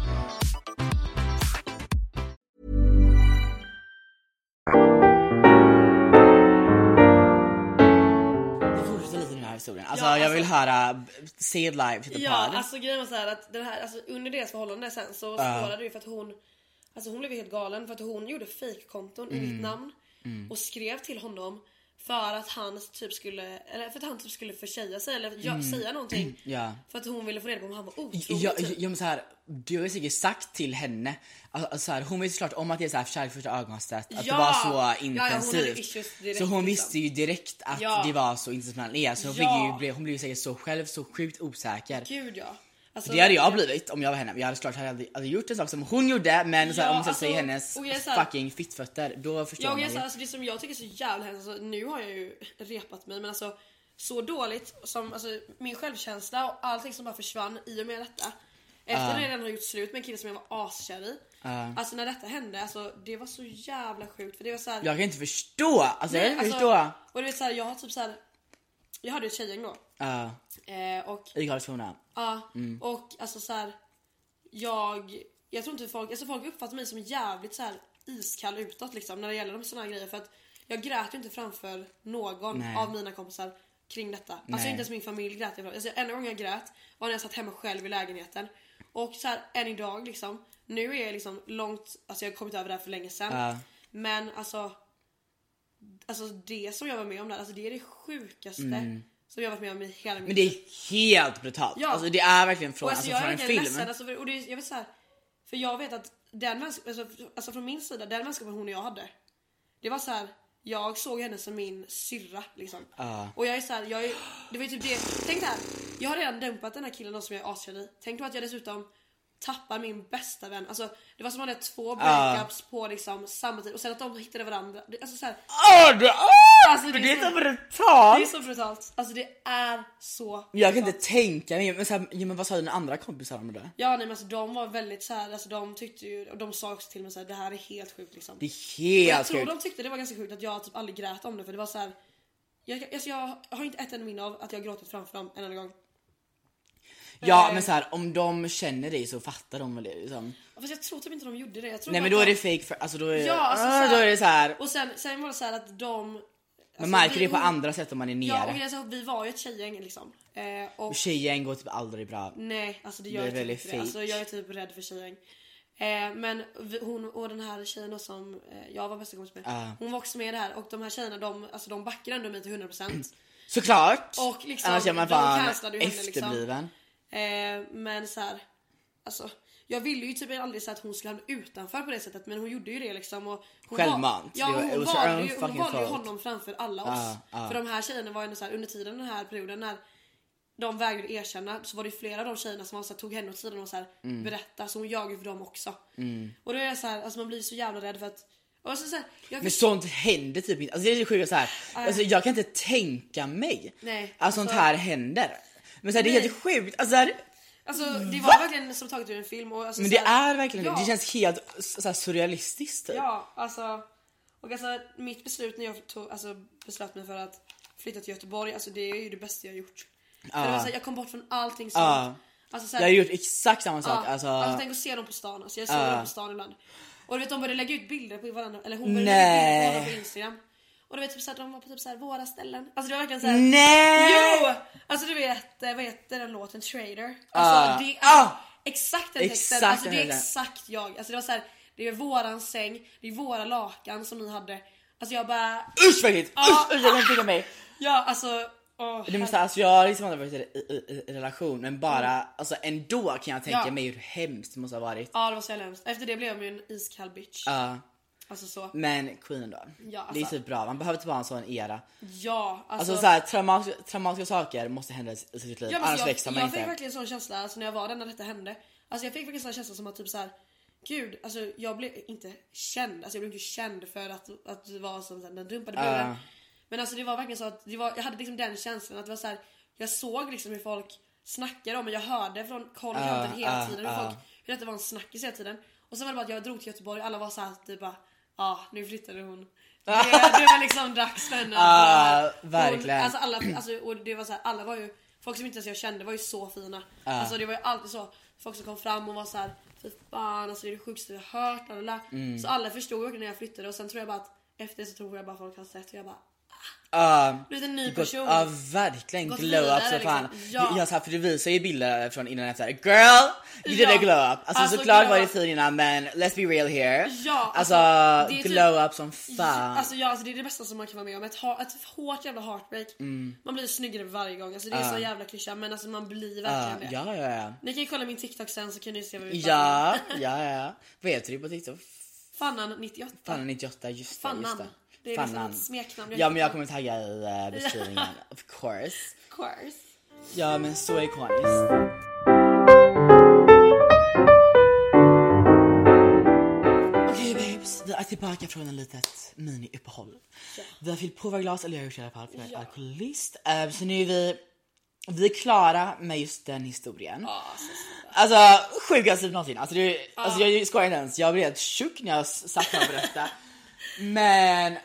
Speaker 1: Vi fortsätter lite nu den här historien. Alltså,
Speaker 2: Ja,
Speaker 1: jag vill
Speaker 2: alltså-
Speaker 1: höra eh, See it live typ, to the
Speaker 2: Ja,
Speaker 1: pod.
Speaker 2: alltså grejen var så här att den här, alltså, under deras förhållande sen så spårade det ju för att hon Alltså hon blev ju helt galen för att hon gjorde fejkkonton i
Speaker 1: Mm.
Speaker 2: mitt namn och skrev till honom för att han typ skulle eller för att han typ skulle förtjäna sig eller gö- säga någonting
Speaker 1: Mm. Ja.
Speaker 2: för att hon ville få reda på om han var otrogen
Speaker 1: Ja,
Speaker 2: typ.
Speaker 1: ja, men så här, du har ju säkert sagt till henne, alltså, så här, hon vet såklart om att det är så här kärlek första ögonkastet, att
Speaker 2: Ja!
Speaker 1: det var så
Speaker 2: Ja, ja, hon hade
Speaker 1: intensivt.
Speaker 2: issues direkt,
Speaker 1: så hon
Speaker 2: liksom.
Speaker 1: visste ju direkt att
Speaker 2: Ja.
Speaker 1: det var så intensivt mellan er, så hon,
Speaker 2: Ja.
Speaker 1: fick ju, bli- hon blev ju säkert så själv så sjukt osäker.
Speaker 2: Gud ja. Alltså,
Speaker 1: Det hade jag blivit om jag var henne, jag hade såklart aldrig, aldrig gjort en sak som hon gjorde men så här,
Speaker 2: Ja,
Speaker 1: om man sätter
Speaker 2: alltså,
Speaker 1: sig i hennes
Speaker 2: och jag är så här-
Speaker 1: fucking fittfötter då förstår
Speaker 2: Jag,
Speaker 1: man
Speaker 2: alltså,
Speaker 1: ju.
Speaker 2: alltså, det som jag tycker är så jävla hemskt, alltså, nu har jag ju repat mig men alltså så dåligt som alltså, min självkänsla och allting som bara försvann i och med detta. Efter när jag redan har gjort slut med en kille som jag var askär i. Alltså när detta hände, alltså, det var så jävla sjukt för det var så här,
Speaker 1: Jag kan inte förstå, alltså jag
Speaker 2: Nej,
Speaker 1: kan inte
Speaker 2: alltså,
Speaker 1: förstå.
Speaker 2: Och du vet såhär, jag har typ såhär, jag hade ju ett tjejgäng då.
Speaker 1: Ja,
Speaker 2: Eh, och
Speaker 1: i Karlskrona.
Speaker 2: Ja,
Speaker 1: Mm.
Speaker 2: och alltså så här. Jag, jag tror inte folk, alltså folk uppfattar mig som jävligt så här iskall utåt liksom när det gäller de såna här grejer för att jag grät ju inte framför någon
Speaker 1: Nej.
Speaker 2: av mina kompisar kring detta. Alltså inte ens min familj grät jag framför. Alltså, enda gången jag grät var när jag satt hemma själv i lägenheten. Och så här än idag liksom. Nu är jag liksom långt, alltså jag har kommit över det här för länge sedan.
Speaker 1: Ja.
Speaker 2: Men alltså Alltså det som jag var med om där, alltså det är det sjukaste som jag varit med om i hela
Speaker 1: Mm.
Speaker 2: mitt
Speaker 1: Men det är helt brutalt,
Speaker 2: Ja.
Speaker 1: alltså det är verkligen från,
Speaker 2: och
Speaker 1: alltså,
Speaker 2: alltså, jag
Speaker 1: från
Speaker 2: är
Speaker 1: en
Speaker 2: verkligen
Speaker 1: film.
Speaker 2: ledsen. Alltså, för, och det, är- jag vet så här, för jag vet att den vänskapen, alltså, alltså från min sida, den vänskapen hon och jag hade. Det var så här, jag såg henne som min syrra liksom. Och jag är så här, jag är, det var ju typ det. Tänk det här, jag har redan dumpat den här killen då som jag är askär i. Tänk då att jag dessutom tappar min bästa vän. Alltså det var som att jag hade två breakups på liksom samma tid och sen att de hittade varandra. Det- Alltså så här,
Speaker 1: Åh, det, åh,
Speaker 2: Alltså,
Speaker 1: det,
Speaker 2: det
Speaker 1: är
Speaker 2: är
Speaker 1: så
Speaker 2: så- det är
Speaker 1: brutalt!
Speaker 2: så brutalt. Alltså det är så
Speaker 1: Jag kan
Speaker 2: brutalt.
Speaker 1: inte tänka mig, men, så här, ja, men vad sa dina andra kompisar om det? där?
Speaker 2: Ja nej men alltså de var väldigt så här, alltså de tyckte ju och de sa också till mig så här, det här är helt sjukt liksom.
Speaker 1: Det
Speaker 2: Och
Speaker 1: är helt
Speaker 2: jag tror
Speaker 1: sjukt.
Speaker 2: de tyckte det var ganska sjukt att jag typ aldrig grät om det för det var så här. Jag, alltså jag har inte ett enda minne av att jag gråtit framför dem en enda gång.
Speaker 1: Ja men så här, om de känner dig så fattar de väl det liksom.
Speaker 2: Fast jag tror typ inte de gjorde det. Jag tror
Speaker 1: Nej
Speaker 2: bara
Speaker 1: men då
Speaker 2: att
Speaker 1: är det
Speaker 2: de-
Speaker 1: fake för, alltså då är,
Speaker 2: Ja alltså
Speaker 1: ah, då är det så här.
Speaker 2: Och sen, sen var det så här att de...
Speaker 1: Man
Speaker 2: alltså,
Speaker 1: märker
Speaker 2: vi-
Speaker 1: det på andra sätt om man är
Speaker 2: Ja och
Speaker 1: nere.
Speaker 2: alltså, vi var ju ett tjejgäng liksom. Eh, och,
Speaker 1: Tjejen går typ aldrig bra.
Speaker 2: Nej, alltså det
Speaker 1: Det
Speaker 2: gör
Speaker 1: är
Speaker 2: jag typ
Speaker 1: väldigt
Speaker 2: inte det. Alltså
Speaker 1: fake.
Speaker 2: jag är typ rädd för tjejgäng. Eh, men vi, hon och den här tjejen då som eh, jag var bästa kompis med.
Speaker 1: Ah.
Speaker 2: Hon var också med i det här och de här tjejerna de, alltså, de backar ändå mig till 100%.
Speaker 1: Såklart!
Speaker 2: Och liksom,
Speaker 1: Annars är man
Speaker 2: de
Speaker 1: fan
Speaker 2: cancellade ju henne, liksom.
Speaker 1: efterbliven.
Speaker 2: Eh, men så här, alltså jag ville ju typ aldrig säga att hon skulle hamna utanför på det sättet men hon gjorde ju det liksom. Och hon
Speaker 1: Självmant.
Speaker 2: Var, ja,
Speaker 1: Det var- it
Speaker 2: hon,
Speaker 1: was her
Speaker 2: valde
Speaker 1: own
Speaker 2: ju, hon
Speaker 1: fucking
Speaker 2: valde ju
Speaker 1: fault.
Speaker 2: honom framför alla
Speaker 1: Ah,
Speaker 2: oss. För de här tjejerna var ju ändå så här, under tiden den här perioden när de vägrade erkänna så var det ju flera av de tjejerna som var så här, tog henne åt sidan och så här,
Speaker 1: Mm.
Speaker 2: berättade så hon ljög ju för dem också. Och då är jag så här, alltså man blir så jävla rädd för att... Och så, så här, jag
Speaker 1: Men sånt händer typ inte. Alltså det är det sjuka så här. Alltså, jag kan inte tänka mig
Speaker 2: Nej,
Speaker 1: att sånt
Speaker 2: alltså-
Speaker 1: här händer. Men så här, det är
Speaker 2: Nej.
Speaker 1: helt sjukt. Alltså, så här,
Speaker 2: Alltså det var verkligen som taget ur en film. Och alltså,
Speaker 1: men
Speaker 2: så
Speaker 1: det
Speaker 2: här-
Speaker 1: är verkligen
Speaker 2: ja,
Speaker 1: det. känns helt så här, surrealistiskt typ.
Speaker 2: Ja, alltså. Och alltså mitt beslut när jag tog, alltså, beslöt mig för att flytta till Göteborg, alltså det är ju det bästa jag har gjort. För det var så här, jag kom bort från allting sånt.
Speaker 1: Ja.
Speaker 2: Alltså, så här,
Speaker 1: Jag har gjort exakt samma sak.
Speaker 2: ja,
Speaker 1: alltså,
Speaker 2: alltså, tänk att se dem på stan, alltså, jag såg dem på stan ibland. Och du vet de började lägga ut bilder på varandra, eller hon började lägga ut bilder på varandra på Instagram. Och du vet typ såhär, de var på typ såhär, våra ställen. Alltså det var verkligen såhär.
Speaker 1: Nej!
Speaker 2: Jo! Alltså du vet, eh, vad heter den låten? Trader. Alltså
Speaker 1: Ah.
Speaker 2: det är
Speaker 1: Ah.
Speaker 2: exakt den texten.
Speaker 1: Exakt
Speaker 2: alltså
Speaker 1: den
Speaker 2: det är
Speaker 1: texten.
Speaker 2: exakt jag. Alltså det var så här, det är våran säng, det är våra lakan som ni hade. Alltså jag bara,
Speaker 1: Usch vad äckligt! Usch, usch, jag kan inte tänka mig.
Speaker 2: ja alltså. åh,
Speaker 1: Det måste, alltså, jag har liksom aldrig varit i, i, i- i relation men bara alltså, ändå kan jag tänka
Speaker 2: Mm. Ja.
Speaker 1: mig hur hemskt det måste ha varit.
Speaker 2: Ja det var så jävla hemskt. Efter det blev jag ju en iskall bitch.
Speaker 1: Ja.
Speaker 2: Alltså så.
Speaker 1: Men Queen då.
Speaker 2: Ja,
Speaker 1: Det är
Speaker 2: alltså.
Speaker 1: typ bra, man behöver typ ha en sån era.
Speaker 2: Ja, alltså.
Speaker 1: Alltså såhär traumatiska, traumatiska saker måste hända i i sitt liv
Speaker 2: ja, men
Speaker 1: typ. annars
Speaker 2: jag,
Speaker 1: växer man
Speaker 2: jag fick
Speaker 1: inte.
Speaker 2: verkligen sån känsla alltså, när jag var där när detta hände. Alltså jag fick verkligen sån känsla som att typ så här. Gud, alltså jag blev inte känd. Alltså jag blev inte känd för att, att du var som så här, den dumpade
Speaker 1: Ah.
Speaker 2: buren. Men alltså det var verkligen så att det var, jag hade liksom den känslan att det var så här. Jag såg liksom hur folk snackade om men jag hörde från koll i
Speaker 1: Ah,
Speaker 2: kanten hela tiden hur, folk, hur detta var en snackis hela tiden. Och sen var det bara att jag drog till Göteborg och alla var så här typ bara ja nu flyttade hon. Det, det var liksom dags för henne.
Speaker 1: Ah,
Speaker 2: Hon-
Speaker 1: verkligen.
Speaker 2: Alltså alla, alltså, och det var så här, alla var ju, folk som inte ens jag kände var ju så fina.
Speaker 1: Ah.
Speaker 2: Alltså det var ju alltid så, folk som kom fram och var så här, fy fan alltså det är det sjukaste jag har hört. Alla,
Speaker 1: Mm.
Speaker 2: Så alla förstod ju verkligen när jag flyttade och sen tror jag bara att efter så tror jag bara folk har sett och jag bara
Speaker 1: Ja,
Speaker 2: blivit en ny
Speaker 1: Gått,
Speaker 2: person.
Speaker 1: ja verkligen
Speaker 2: Gått
Speaker 1: glow up så
Speaker 2: vidare,
Speaker 1: fan.
Speaker 2: liksom.
Speaker 1: Ja.
Speaker 2: Ja.
Speaker 1: Jag, så här, för du visar ju bilder från innan och efter. Girl! You did
Speaker 2: Ja.
Speaker 1: a glow up. Alltså,
Speaker 2: Alltså,
Speaker 1: såklart
Speaker 2: glow
Speaker 1: var du
Speaker 2: up.
Speaker 1: fin innan men let's be real here.
Speaker 2: Ja,
Speaker 1: alltså,
Speaker 2: alltså, det är typ-
Speaker 1: glow up som fan.
Speaker 2: Alltså, ja, alltså det är det bästa som man kan vara med om. Ett, ha- ett hårt jävla heartbreak.
Speaker 1: Mm.
Speaker 2: Man blir snyggare varje gång. Alltså det är så jävla klyscha men alltså man blir verkligen det.
Speaker 1: Ah. ja, ja, ja.
Speaker 2: Ni kan ju kolla min TikTok sen så kan ni se vad vi
Speaker 1: Ja, ja, ja. Vad heter du på TikTok?
Speaker 2: Fannan 98.
Speaker 1: Fannan 98, just det. Just
Speaker 2: Fannan.
Speaker 1: det.
Speaker 2: Det är liksom ett smeknamn jag
Speaker 1: Ja men jag
Speaker 2: hittar.
Speaker 1: kommer tagga i eh, beskrivningen, of course.
Speaker 2: Of course.
Speaker 1: Ja men så ikoniskt. Okej babes, vi är tillbaka från en litet mini-uppehåll. Vi har fyllt på våra glas, eller jag har gjort det i alla fall för jag är alkoholist. Eh, Så nu är vi, vi är klara med just den historien. Alltså sjukaste typ någonsin. Alltså, det, alltså jag skojar inte ens, jag blev helt tjock när jag s- satt här och berättade. Men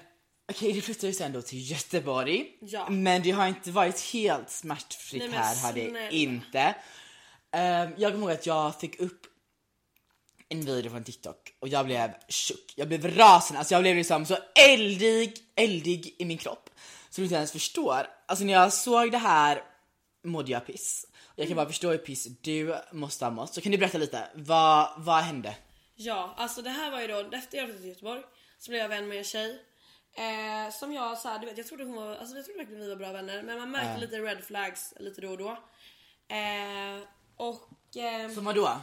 Speaker 1: okej, du flyttade ju sen då till Göteborg.
Speaker 2: Ja.
Speaker 1: Men det har inte varit helt smärtfritt
Speaker 2: Nej, men
Speaker 1: här, har det
Speaker 2: snälla.
Speaker 1: inte. Ehm, jag kommer ihåg att jag fick upp en video från TikTok och jag blev tjock. Jag blev rasande, alltså jag blev liksom så eldig, eldig i min kropp. Så du inte ens förstår. Alltså när jag såg det här mådde jag piss. Jag
Speaker 2: Mm.
Speaker 1: kan bara förstå hur piss du måste ha mått. Så kan du berätta lite, vad, vad hände?
Speaker 2: Ja, alltså det här var ju då efter jag flyttade till Göteborg så blev jag vän med en tjej. Eh, som jag så här, du vet, jag trodde hon var, alltså jag trodde verkligen vi var bra vänner men man
Speaker 1: Ah.
Speaker 2: märkte lite red flags lite då och då. Eh, och... ehm,
Speaker 1: Som vadå?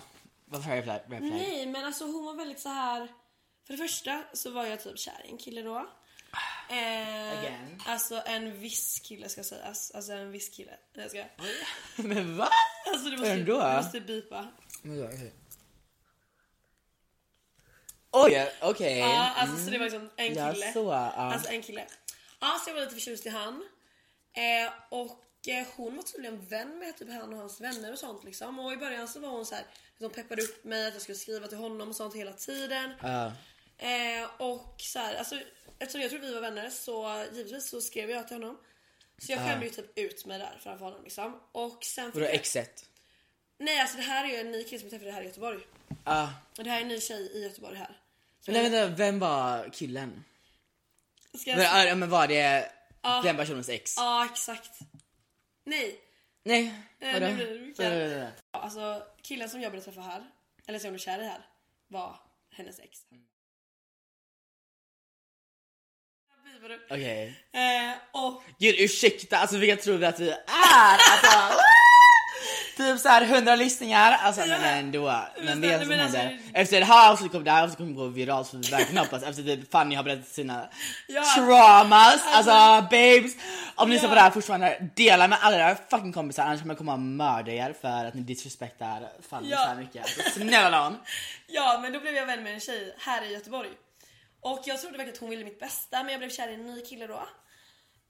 Speaker 1: Varför har jag red flag?
Speaker 2: Nej men alltså hon var väldigt så här. För det första så var jag typ kär i en kille då. Eh,
Speaker 1: Again.
Speaker 2: Alltså en viss kille ska sägas. Alltså en viss kille. Nej, Jag ska.
Speaker 1: Men va?
Speaker 2: Alltså du måste,
Speaker 1: Ändå?
Speaker 2: du måste bipa.
Speaker 1: Oj, okej.
Speaker 2: Ja alltså så det var liksom en
Speaker 1: Ja,
Speaker 2: kille.
Speaker 1: så, ja.
Speaker 2: Alltså en kille. Ja så jag var lite förtjust i han. Eh, och eh, hon var tydligen vän med typ han och hans vänner och sånt liksom. Och i början så var hon så här, liksom peppade upp mig att jag skulle skriva till honom och sånt hela tiden. Eh, och så här, alltså, eftersom jag tror vi var vänner så givetvis så skrev jag till honom. Så jag skämde ju typ ut mig där framför honom liksom. Och sen fick
Speaker 1: Vadå
Speaker 2: jag,
Speaker 1: exet?
Speaker 2: Nej alltså det här är ju en ny kille som jag träffade här i Göteborg.
Speaker 1: Ah.
Speaker 2: Och det här är en ny tjej i Göteborg här.
Speaker 1: Men nej, vänta, vem var killen?
Speaker 2: Ska
Speaker 1: Men,
Speaker 2: jag...
Speaker 1: ah, ja, men var det den personens ex?
Speaker 2: Ja exakt. Nej.
Speaker 1: Nej,
Speaker 2: Eh,
Speaker 1: vadå?
Speaker 2: nu blir det mycket.
Speaker 1: Vadå, vadå, vadå?
Speaker 2: Ja, Alltså killen som jag började träffa här, eller som jag blev kär i här, var hennes ex.
Speaker 1: Okej.
Speaker 2: Eh, och
Speaker 1: Gud ursäkta, alltså vilka tror vi att vi är? Alltså, typ såhär 100 lyssningar, alltså men ändå. Men det är det som
Speaker 2: Men alltså-
Speaker 1: händer. Efter det här avsnittet kommer det här avsnittet kommer gå viralt för vi verkligen hoppas efter det Fanny har berättat sina
Speaker 2: Ja.
Speaker 1: traumas. Alltså, babes! Om ni
Speaker 2: Ja.
Speaker 1: ser på det här fortfarande, dela med alla era fucking kompisar annars kommer jag komma och mörda er för att ni disrespektar Fanny
Speaker 2: Ja.
Speaker 1: så här mycket. Alltså, snälla nån.
Speaker 2: Ja, men då blev jag vän med en tjej här i Göteborg. Och jag trodde verkligen att hon ville mitt bästa, men jag blev kär i en ny kille då.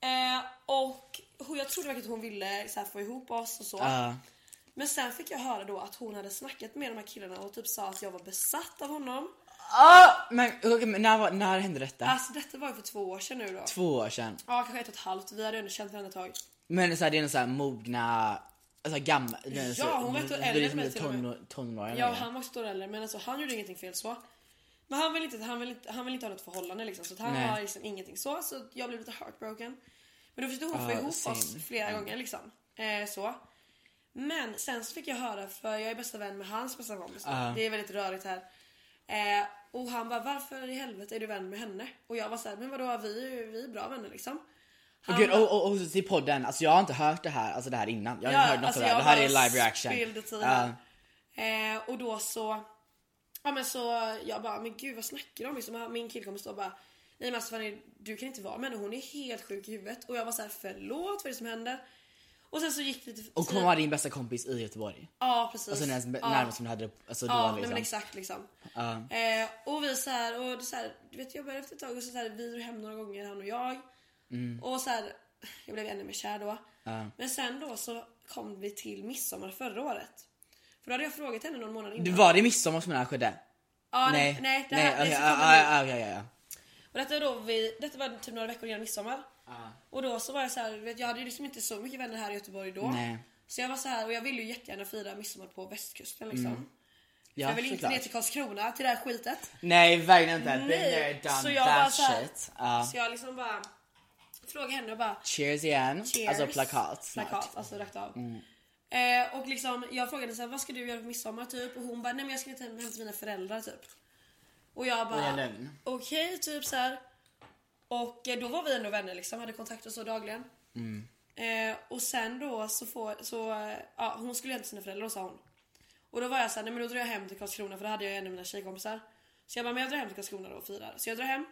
Speaker 2: Eh, och hon- jag trodde verkligen att hon ville så här, få ihop oss och så.
Speaker 1: Ja.
Speaker 2: Men sen fick jag höra då att hon hade snackat med de här killarna och typ sa att jag var besatt av honom.
Speaker 1: Ah, men okej, men när, var- när hände detta?
Speaker 2: Alltså detta var ju för två år sedan nu då.
Speaker 1: Två år sedan.
Speaker 2: Ja, kanske ett och ett halvt. Vi hade ändå känt varandra ett tag.
Speaker 1: Men så här, det är en sån här mogna, alltså gammal.
Speaker 2: Ja,
Speaker 1: så,
Speaker 2: hon var ett år
Speaker 1: det är
Speaker 2: äldre
Speaker 1: liksom
Speaker 2: än mig
Speaker 1: inte
Speaker 2: till och med.
Speaker 1: tonå- Tonåringar
Speaker 2: Ja,
Speaker 1: längre.
Speaker 2: han var också stor äldre men alltså, han gjorde ingenting fel så. Men han vill inte, han vill inte, han vill inte ha något förhållande liksom. Så att han
Speaker 1: Nej.
Speaker 2: har liksom ingenting så. Så att jag blev lite heartbroken. Men då försökte hon få
Speaker 1: Ja,
Speaker 2: ihop oss
Speaker 1: same.
Speaker 2: flera gånger liksom. Eh, så. Men sen så fick jag höra, för jag är bästa vän med hans bästa kompis. då. Det är väldigt rörigt här. Eh, och han bara, varför i helvete är du vän med henne? Och jag var såhär, men vadå vi är ju vi är bra vänner liksom.
Speaker 1: Och
Speaker 2: Han
Speaker 1: gud,
Speaker 2: bara-
Speaker 1: och, och, och så till podden, alltså jag har inte hört det här, alltså det här innan. Jag har inte hört något
Speaker 2: alltså
Speaker 1: av det här.
Speaker 2: jag
Speaker 1: Det här är
Speaker 2: bara
Speaker 1: live reaction.
Speaker 2: spillde tiden.
Speaker 1: Ja.
Speaker 2: Eh, och då så Ja men så jag bara, men gud vad snackar de om? Liksom, min killkompis då bara, nej men alltså Fanny, du kan inte vara med henne, hon är helt sjuk i huvudet. Och jag var så här, förlåt vad är det som händer? Och sen så gick det lite...
Speaker 1: Och hon var din bästa kompis i Göteborg.
Speaker 2: Ja precis.
Speaker 1: Alltså när,
Speaker 2: Typ. Ja.
Speaker 1: närmast hon hade det alltså, då
Speaker 2: Ja, nej,
Speaker 1: liksom.
Speaker 2: men exakt liksom. Eh, och vi så här, och det så här, du vet jag började efter ett tag och så, så här, vi drog hem några gånger han och jag.
Speaker 1: Mm.
Speaker 2: Och så här, jag blev ännu mer kär då. Men sen då så kom vi till midsommar förra året. För då hade jag frågat henne någon månad
Speaker 1: Du,
Speaker 2: innan.
Speaker 1: Var det midsommar som det här skedde?
Speaker 2: Ja,
Speaker 1: nej,
Speaker 2: nej, det
Speaker 1: nej,
Speaker 2: här, nej,
Speaker 1: okej,
Speaker 2: så
Speaker 1: ja,
Speaker 2: kommer
Speaker 1: ja,
Speaker 2: vi-
Speaker 1: ja, ja, ja, ja.
Speaker 2: Och detta var, då vi, detta var typ några veckor innan midsommar. Och då så var jag så här, vet, jag hade ju liksom inte så mycket vänner här i Göteborg då.
Speaker 1: Nej.
Speaker 2: Så jag var så här och jag ville ju jättegärna fira midsommar på västkusten liksom.
Speaker 1: Mm. Ja,
Speaker 2: jag ville inte
Speaker 1: såklart.
Speaker 2: ner till Karlskrona till det här skitet.
Speaker 1: Nej verkligen inte. Been there,
Speaker 2: Nej.
Speaker 1: done
Speaker 2: Så jag bara
Speaker 1: that
Speaker 2: så här,
Speaker 1: shit. Ja.
Speaker 2: så jag liksom bara frågade henne och bara
Speaker 1: Cheers igen.
Speaker 2: cheers.
Speaker 1: Alltså plakat. snart. Mm.
Speaker 2: Plakat, alltså rakt av. Eh, och liksom, jag frågade så här, vad ska du göra på midsommar typ? Och hon bara, nej men jag ska inte hem hem till mina föräldrar typ. Och jag
Speaker 1: Och jag
Speaker 2: bara,
Speaker 1: lugn.
Speaker 2: okej typ så här. Och eh, då var vi ändå vänner liksom, hade kontakt och så dagligen.
Speaker 1: Mm.
Speaker 2: Eh, och sen då så får, så, eh, ja hon skulle hem till sina föräldrar sa hon. Och då var jag såhär, nej men då drar jag hem till Karlskrona för då hade jag ju en av mina tjejkompisar. Så jag bara, men jag drar hem till Karlskrona då och firar. Så jag drar hem.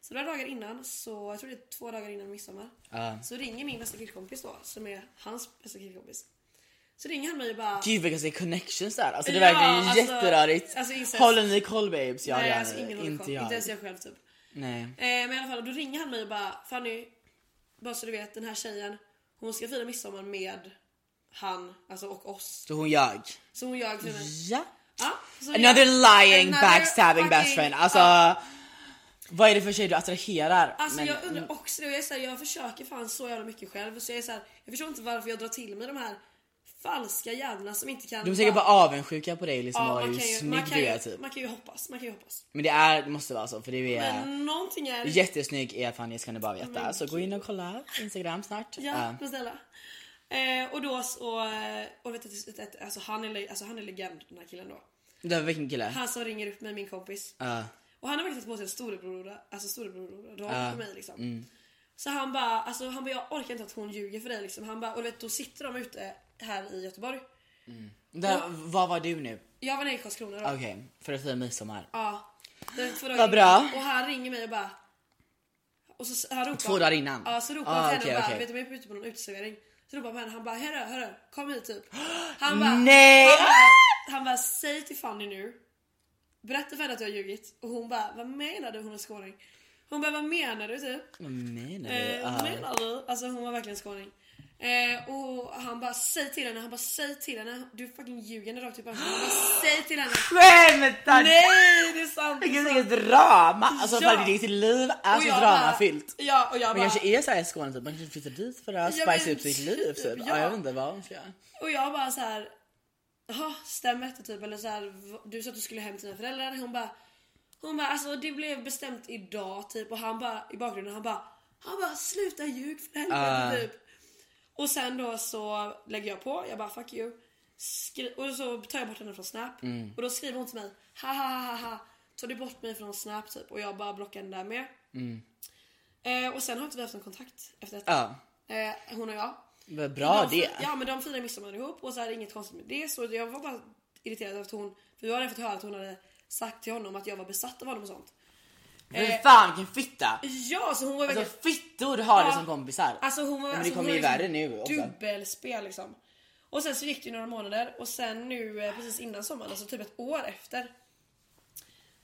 Speaker 2: Så några dagar innan, så jag tror det är två dagar innan midsommar. Så ringer min bästa killkompis då, som är hans bästa killkompis. Så ringer han mig och bara...
Speaker 1: Gud vilka så connections där. Alltså det är
Speaker 2: Ja,
Speaker 1: verkligen
Speaker 2: alltså-
Speaker 1: jätterörigt.
Speaker 2: alltså, incest.
Speaker 1: Håller ni koll babes? Ja,
Speaker 2: nej,
Speaker 1: det gör
Speaker 2: alltså
Speaker 1: ni.
Speaker 2: ingen
Speaker 1: inte
Speaker 2: inte,
Speaker 1: jag.
Speaker 2: inte ens jag själv typ.
Speaker 1: Nej.
Speaker 2: Eh, men i alla fall, då ringer han mig och bara Fanny, bara så du vet den här tjejen, hon ska fira midsommar med han, alltså och oss.
Speaker 1: Så hon ljög.
Speaker 2: Så hon ljög för mig.
Speaker 1: Ja.
Speaker 2: Ja, så
Speaker 1: Another
Speaker 2: jag-
Speaker 1: lying
Speaker 2: another
Speaker 1: backstabbing best
Speaker 2: fucking-
Speaker 1: friend. Alltså
Speaker 2: ja.
Speaker 1: vad är det för tjej du attraherar?
Speaker 2: Alltså
Speaker 1: Men-
Speaker 2: jag undrar också det och jag, är så här, jag försöker fan så jävla mycket själv så jag är så här, jag förstår inte varför jag drar till mig de här falska jävlarna som inte kan...
Speaker 1: de är säkert bara avundsjuka på dig liksom
Speaker 2: Ja,
Speaker 1: och
Speaker 2: man,
Speaker 1: hur
Speaker 2: kan ju,
Speaker 1: snygg
Speaker 2: man, kan
Speaker 1: du är
Speaker 2: ju,
Speaker 1: typ.
Speaker 2: man kan ju hoppas, man kan ju hoppas.
Speaker 1: Men det är, det måste vara så för det är
Speaker 2: Men någonting är...
Speaker 1: jättesnygg är Fanny ska ni bara veta. så gå in och kolla Instagram snart.
Speaker 2: Ja,
Speaker 1: Ja.
Speaker 2: beställa. Eh, och då så... eh, Och vet du, ett- ett- alltså, han är, le- alltså han är legend den här killen då.
Speaker 1: Det var vilken kille?
Speaker 2: Han som ringer upp mig, min kompis.
Speaker 1: Ja.
Speaker 2: Och han har verkligen tagit på sig en storebror, alltså storebror uh. på mig liksom.
Speaker 1: Mm.
Speaker 2: Så han bara, alltså han bara jag orkar inte att hon ljuger för dig liksom. Han bara, och du vet då sitter de ute här i Göteborg.
Speaker 1: Där, vad var du nu?
Speaker 2: Jag var nere i Karlskrona då.
Speaker 1: Okej, för att fira midsommar.
Speaker 2: Ja. Det var två dagar
Speaker 1: Vad bra.
Speaker 2: innan. Och han ringer mig och bara... Och så, han ropar,
Speaker 1: Två dagar innan?
Speaker 2: Ja, så ropar
Speaker 1: Ah,
Speaker 2: han till
Speaker 1: okej,
Speaker 2: henne och bara,
Speaker 1: okej.
Speaker 2: vet du, vi är ute på någon uteservering. Så ropar han på henne, han bara, hörru, hörru, kom hit typ. Han bara,
Speaker 1: Nej!
Speaker 2: Han bara, han bara, säg till Fanny nu. Berätta för henne att jag har ljugit. Och hon bara, vad menar du? Hon är skåning. Hon bara, vad menar du typ?
Speaker 1: Vad menar du? Ah.
Speaker 2: Eh,
Speaker 1: Ja.
Speaker 2: menar du? Alltså hon var verkligen skåning. Eh, och han bara säg till henne, han bara säg till henne. Du fucking ljuger henne rakt upp i ansiktet. Han bara säg till henne.
Speaker 1: Skämtar du?
Speaker 2: Nej det är sant!
Speaker 1: Vilket vilket drama! Alltså
Speaker 2: Ja.
Speaker 1: ja. ditt liv är
Speaker 2: Och
Speaker 1: så
Speaker 2: jag
Speaker 1: dramafyllt.
Speaker 2: bara- Ja och jag
Speaker 1: Man
Speaker 2: bara,
Speaker 1: kanske är såhär i Skåne typ, man kanske flyttar dit för att
Speaker 2: Ja, men
Speaker 1: spice upp sitt liv typ.
Speaker 2: typ,
Speaker 1: Ja.
Speaker 2: ja.
Speaker 1: jag vet inte vad hon ska göra.
Speaker 2: och jag bara så här. Jaha, stämmer detta typ? Eller så här, v- du sa att du skulle hem till dina föräldrar. Hon bara, hon bara alltså det blev bestämt idag typ. Och han bara i bakgrunden han bara, han bara sluta ljug för helvete typ. Och sen då så lägger jag på, jag bara fuck you. Skri- och så tar jag bort henne från snap. Och då skriver hon till mig, ha ha ha ha, ha. Tar du bort mig från snap typ? Och jag bara blockar henne där med. Eh, och sen har inte vi haft någon kontakt efter detta.
Speaker 1: Ja.
Speaker 2: Eh, hon och jag.
Speaker 1: Vad bra
Speaker 2: de,
Speaker 1: det.
Speaker 2: Ja men de firar midsommar ihop och så är det inget konstigt med det. Så jag var bara irriterad över att hon, för vi hade fått höra att hon hade sagt till honom att jag var besatt av honom och sånt.
Speaker 1: Men fan vilken fitta!
Speaker 2: Ja så hon var verkligen...
Speaker 1: Alltså fittor har det
Speaker 2: Ja.
Speaker 1: som kompisar.
Speaker 2: Alltså hon var,
Speaker 1: men det
Speaker 2: alltså,
Speaker 1: kommer
Speaker 2: hon
Speaker 1: ju
Speaker 2: var
Speaker 1: värre nu också.
Speaker 2: Dubbelspel liksom. Och sen så gick det ju några månader och sen nu eh, precis innan sommaren, alltså typ ett år efter.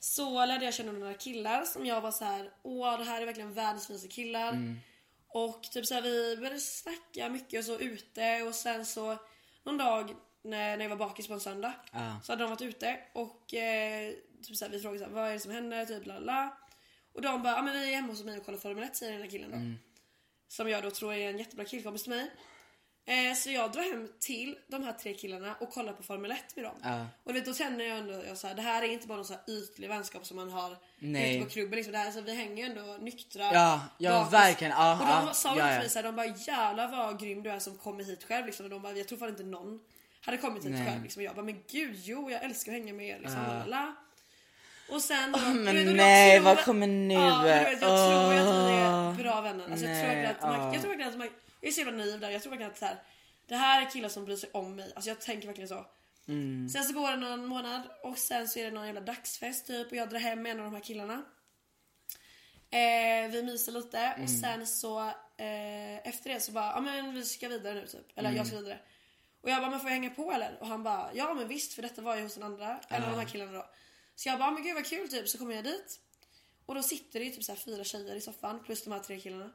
Speaker 2: Så lärde jag känna några killar som jag var så här: åh det här är verkligen världens finaste killar.
Speaker 1: Mm.
Speaker 2: Och typ så här, vi började snacka mycket och så ute och sen så någon dag när, när jag var bakis på en söndag
Speaker 1: Ah.
Speaker 2: så hade de varit ute och eh, typ så här, vi frågade så här, vad är det som händer, typ la la, la. Och de bara, ah, men vi är hemma hos mig och kollar Formel 1 säger den här killen då.
Speaker 1: Mm.
Speaker 2: Som jag då tror är en jättebra killkompis till mig. Eh, så jag drar hem till de här tre killarna och kollar på Formel 1 med dem. Och du vet, då känner jag ändå, jag så här, det här är inte bara någon så här ytlig vänskap som man har
Speaker 1: Nej.
Speaker 2: ute på klubben. Liksom. Det här, så vi hänger ju ändå nyktra.
Speaker 1: Ja, ja,
Speaker 2: bakis.
Speaker 1: verkligen. Ja,
Speaker 2: och
Speaker 1: ja,
Speaker 2: de sa
Speaker 1: ja,
Speaker 2: ja,
Speaker 1: ja.
Speaker 2: till mig så här, de bara jävlar vad grym du är som kommer hit själv. Liksom. Och de bara, jag tror fan inte någon hade kommit hit själv. Liksom. Och jag bara, men gud jo jag älskar att hänga med er. Liksom. la, la, la. Och sen... och
Speaker 1: men
Speaker 2: jag
Speaker 1: nej,
Speaker 2: tror
Speaker 1: vad
Speaker 2: att-
Speaker 1: kommer nu?
Speaker 2: Ja, men du vet, jag tror ju att vi
Speaker 1: Åh.
Speaker 2: är bra vänner. Alltså, jag,
Speaker 1: Nej,
Speaker 2: tror verkligen att man,
Speaker 1: ja.
Speaker 2: jag tror verkligen att man... Jag är så jävla naiv där. Jag tror verkligen att så här, det här är killar som bryr sig om mig. Alltså jag tänker verkligen så.
Speaker 1: Mm.
Speaker 2: Sen så går det någon månad och sen så är det någon jävla dagsfest typ och jag drar hem med en av de här killarna. Eh, vi myser lite och
Speaker 1: Mm.
Speaker 2: sen så eh, efter det så bara, ja men vi ska vidare nu typ. Eller jag ska
Speaker 1: Mm.
Speaker 2: vidare. Och jag bara, men får jag hänga på eller? Och han bara, ja men visst för detta var ju hos den andra. Eller de här killarna då. Så jag bara, men gud vad kul typ. Så kommer jag dit. Och då sitter det ju typ så här fyra tjejer i soffan plus de här tre killarna.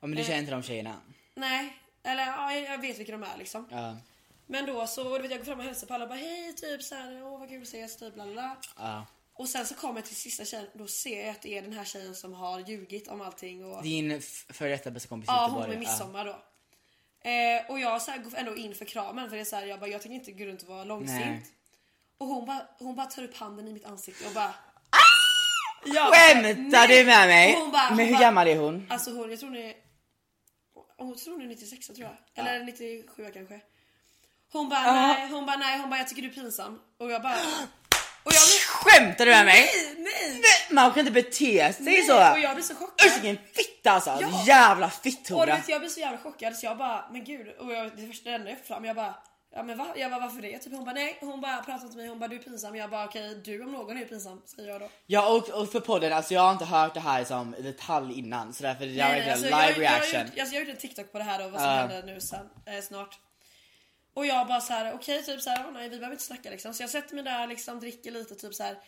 Speaker 1: Ja, men du känner inte de tjejerna?
Speaker 2: Nej, eller ja, jag- jag vet vilka de är liksom.
Speaker 1: Ja.
Speaker 2: Men då så, och du vet jag går fram och hälsar på alla och bara hej typ såhär, åh vad kul att ses typ bla bla, bla.
Speaker 1: ja.
Speaker 2: Och sen så kommer jag till sista tjejen, då ser jag att det är den här tjejen som har ljugit om allting och
Speaker 1: Din f- före detta bästa kompis i
Speaker 2: ja hon
Speaker 1: Göteborg,
Speaker 2: med midsommar då. Eh, och jag så här, går ändå in för kramen för det är såhär, jag bara jag tänker inte gå runt och vara
Speaker 1: Nej.
Speaker 2: långsint. Och hon bara, hon bara tar upp handen i mitt ansikte och bara
Speaker 1: Ja. Ah! Skämtar du med mig?
Speaker 2: Hon bara-
Speaker 1: men
Speaker 2: hon
Speaker 1: hur
Speaker 2: bara-
Speaker 1: gammal är hon?
Speaker 2: Alltså hon, jag tror hon är... Hon tror hon är 96 tror jag. Eller 97 kanske. Hon bara nej, hon bara nej, hon bara jag tycker du är pinsam. Och jag bara... Och jag blir...
Speaker 1: Skämtar du med mig?
Speaker 2: Nej, nej!
Speaker 1: Nej, Man kan inte bete sig
Speaker 2: nej.
Speaker 1: så.
Speaker 2: Och jag blir så chockad.
Speaker 1: Usch vilken fitta alltså!
Speaker 2: Ja.
Speaker 1: Jävla
Speaker 2: Och du
Speaker 1: fitthora!
Speaker 2: vet, jag blir så jävla chockad så jag bara men gud. Och jag, det första det enda jag får fram jag bara Ja men va? Jag bara varför det? Typ hon bara nej, hon bara pratar inte med mig, hon bara du är pinsam. Jag bara okej du om någon är pinsam säger jag då.
Speaker 1: Ja och, och för podden, alltså jag har inte hört det här som i detalj innan så därför det där var
Speaker 2: Nej,
Speaker 1: inte
Speaker 2: nej, alltså,
Speaker 1: live
Speaker 2: jag, jag,
Speaker 1: reaction.
Speaker 2: Jag, gjorde- alltså, jag gjorde en TikTok på det här och vad som händer nu sen, eh, snart. Och jag bara så här, okej typ så här, "Åh, nej vi behöver inte snacka liksom. Så jag sätter mig där liksom, dricker lite typ så här.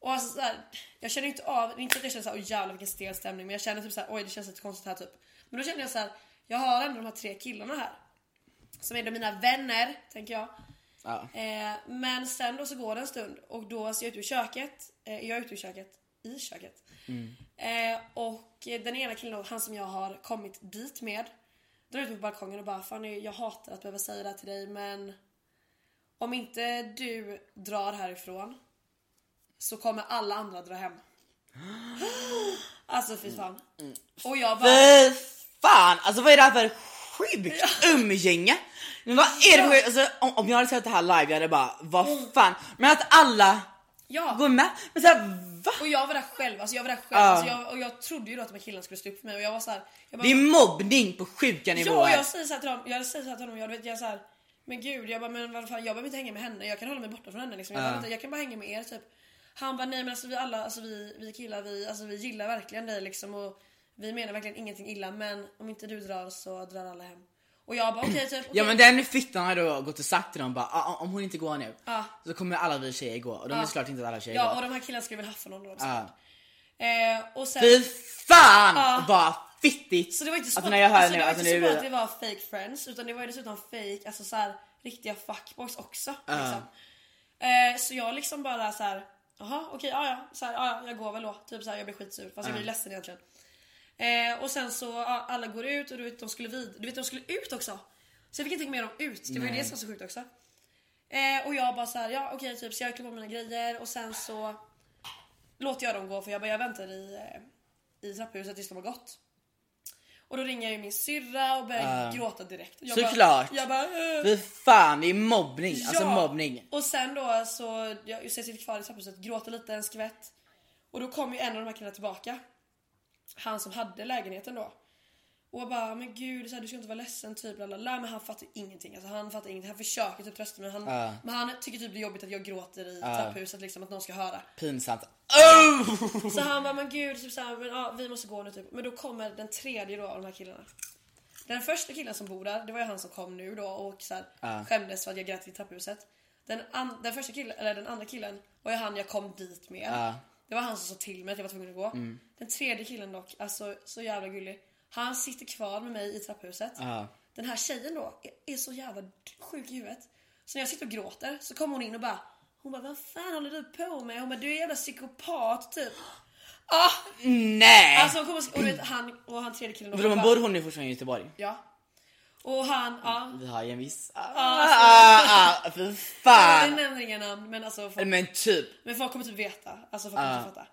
Speaker 2: Och alltså så här, jag känner ju inte av, inte att jag känner så här, åh jävlar vilken stel stämning. Men jag känner typ så här, oj det känns lite konstigt här typ. Men då känner jag så här, jag har ändå de här tre killarna här. Som är då mina vänner, tänker jag.
Speaker 1: Ja.
Speaker 2: Eh, men sen då så går det en stund och då ser jag ut ur köket. Eh, jag är ute ur köket. I köket. Eh, och eh, den ena killen, då, han som jag har kommit dit med. Drar ut mig på balkongen och bara Fanny jag hatar att behöva säga det här till dig men om inte du drar härifrån så kommer alla andra dra hem. alltså fy fan. Och jag bara...
Speaker 1: Fy Eh, fan! Alltså vad är det här för sjukt umgänge? Men vad är det för sjukt? Alltså, om, om jag hade sett det här live jag hade bara vad fan. Men att alla
Speaker 2: Ja.
Speaker 1: går med. Men såhär va?
Speaker 2: Och jag var där själv, alltså jag var där själv.
Speaker 1: Ja.
Speaker 2: Alltså jag, och jag trodde ju då att de här killarna skulle stå upp för mig och jag var så här, jag bara,
Speaker 1: Det är mobbning på sjuka
Speaker 2: Ja, och
Speaker 1: nivåer.
Speaker 2: jag säger såhär till honom, jag säger så här till honom, jag, du vet, jag är såhär Men gud, jag bara, men vad fan, jag behöver inte hänga med henne, jag kan hålla mig borta från henne liksom. jag, bara, "Vänta, jag kan bara hänga med er typ Han bara, nej men alltså vi alla, alltså vi, vi killar, vi, alltså, vi gillar verkligen dig liksom och Vi menar verkligen ingenting illa men om inte du drar så drar alla hem Och jag bara okej typ
Speaker 1: Ja
Speaker 2: okej."
Speaker 1: men den fittan har då gått och sagt till dem bara "Ah, ah, om hon inte går nu
Speaker 2: Ja.
Speaker 1: så kommer alla vi tjejer gå och de är såklart inte att alla tjejer
Speaker 2: Ah. Ja
Speaker 1: går.
Speaker 2: och de här killarna skulle väl haffa någon då också.
Speaker 1: Ja.
Speaker 2: eh, och sen,
Speaker 1: Fy fan
Speaker 2: Ja.
Speaker 1: vad fittigt!
Speaker 2: Så det var inte så,
Speaker 1: alltså,
Speaker 2: att,
Speaker 1: när jag hör
Speaker 2: alltså,
Speaker 1: nu,
Speaker 2: det, var
Speaker 1: alltså,
Speaker 2: inte så
Speaker 1: nu
Speaker 2: bara att det var fake friends utan det var ju dessutom fake, alltså så här, riktiga fuckboys också. Liksom. Eh, så jag liksom bara så här, jaha okej ja ja, så här, ja ja, jag går väl då. Typ så här, jag blir skitsur fast jag blir ledsen egentligen. Eh, och sen så ja, alla går ut och du vet de skulle vid, du vet de skulle ut också. Så jag fick inte hänga med dem ut, det var ju det som var så sjukt också. Eh, och jag bara så här, ja okej typ så jag klär på mina grejer och sen så låter jag dem gå för jag bara jag väntar i, eh, i trapphuset tills de har gått. Och då ringer jag ju min syrra och börjar gråta direkt. Jag
Speaker 1: Såklart.
Speaker 2: Bara, jag bara, eh.
Speaker 1: Fy fan det är mobbning, alltså mobbning.
Speaker 2: Och sen då så, jag, jag sitter kvar i trapphuset, gråter lite en skvätt. Och då kom ju en av de här killarna tillbaka. Han som hade lägenheten då. Och jag bara, men gud så här, du ska inte vara ledsen typ la, la, la. Men han fattar ingenting. Alltså, han fattar ingenting. Han försöker typ trösta mig. Han, Men han tycker typ det är jobbigt att jag gråter i trapphuset liksom, att någon ska höra.
Speaker 1: Pinsamt. Oh!
Speaker 2: Så han bara, men gud, typ så här, men, ja, vi måste gå nu typ. Men då kommer den tredje då av de här killarna. Den första killen som bor där, det var ju han som kom nu då och så här, skämdes för att jag grät i trapphuset. Den, an- den första killen, eller den andra killen, var ju han jag kom dit med. Det var han som sa till mig att jag var tvungen att gå. Den tredje killen dock, alltså så jävla gullig. Han sitter kvar med mig i trapphuset. Den här tjejen då är, är så jävla d- sjuk i huvudet. Så när jag sitter och gråter så kommer hon in och bara Hon bara vad fan håller du på med? Hon bara du är en jävla psykopat typ. Ah,
Speaker 1: Nej!
Speaker 2: alltså hon kommer och, du vet, han, och han tredje killen
Speaker 1: För de
Speaker 2: bara-
Speaker 1: bor hon är fortfarande i Göteborg.
Speaker 2: Ja. Och han, ja. alltså-
Speaker 1: Vi har ju en viss... Ah, ah, ah, fy
Speaker 2: Jag
Speaker 1: fan!
Speaker 2: nämner inga namn men alltså folk,
Speaker 1: Men Ah. typ.
Speaker 2: men folk kommer typ veta. Alltså folk kommer typ fatta.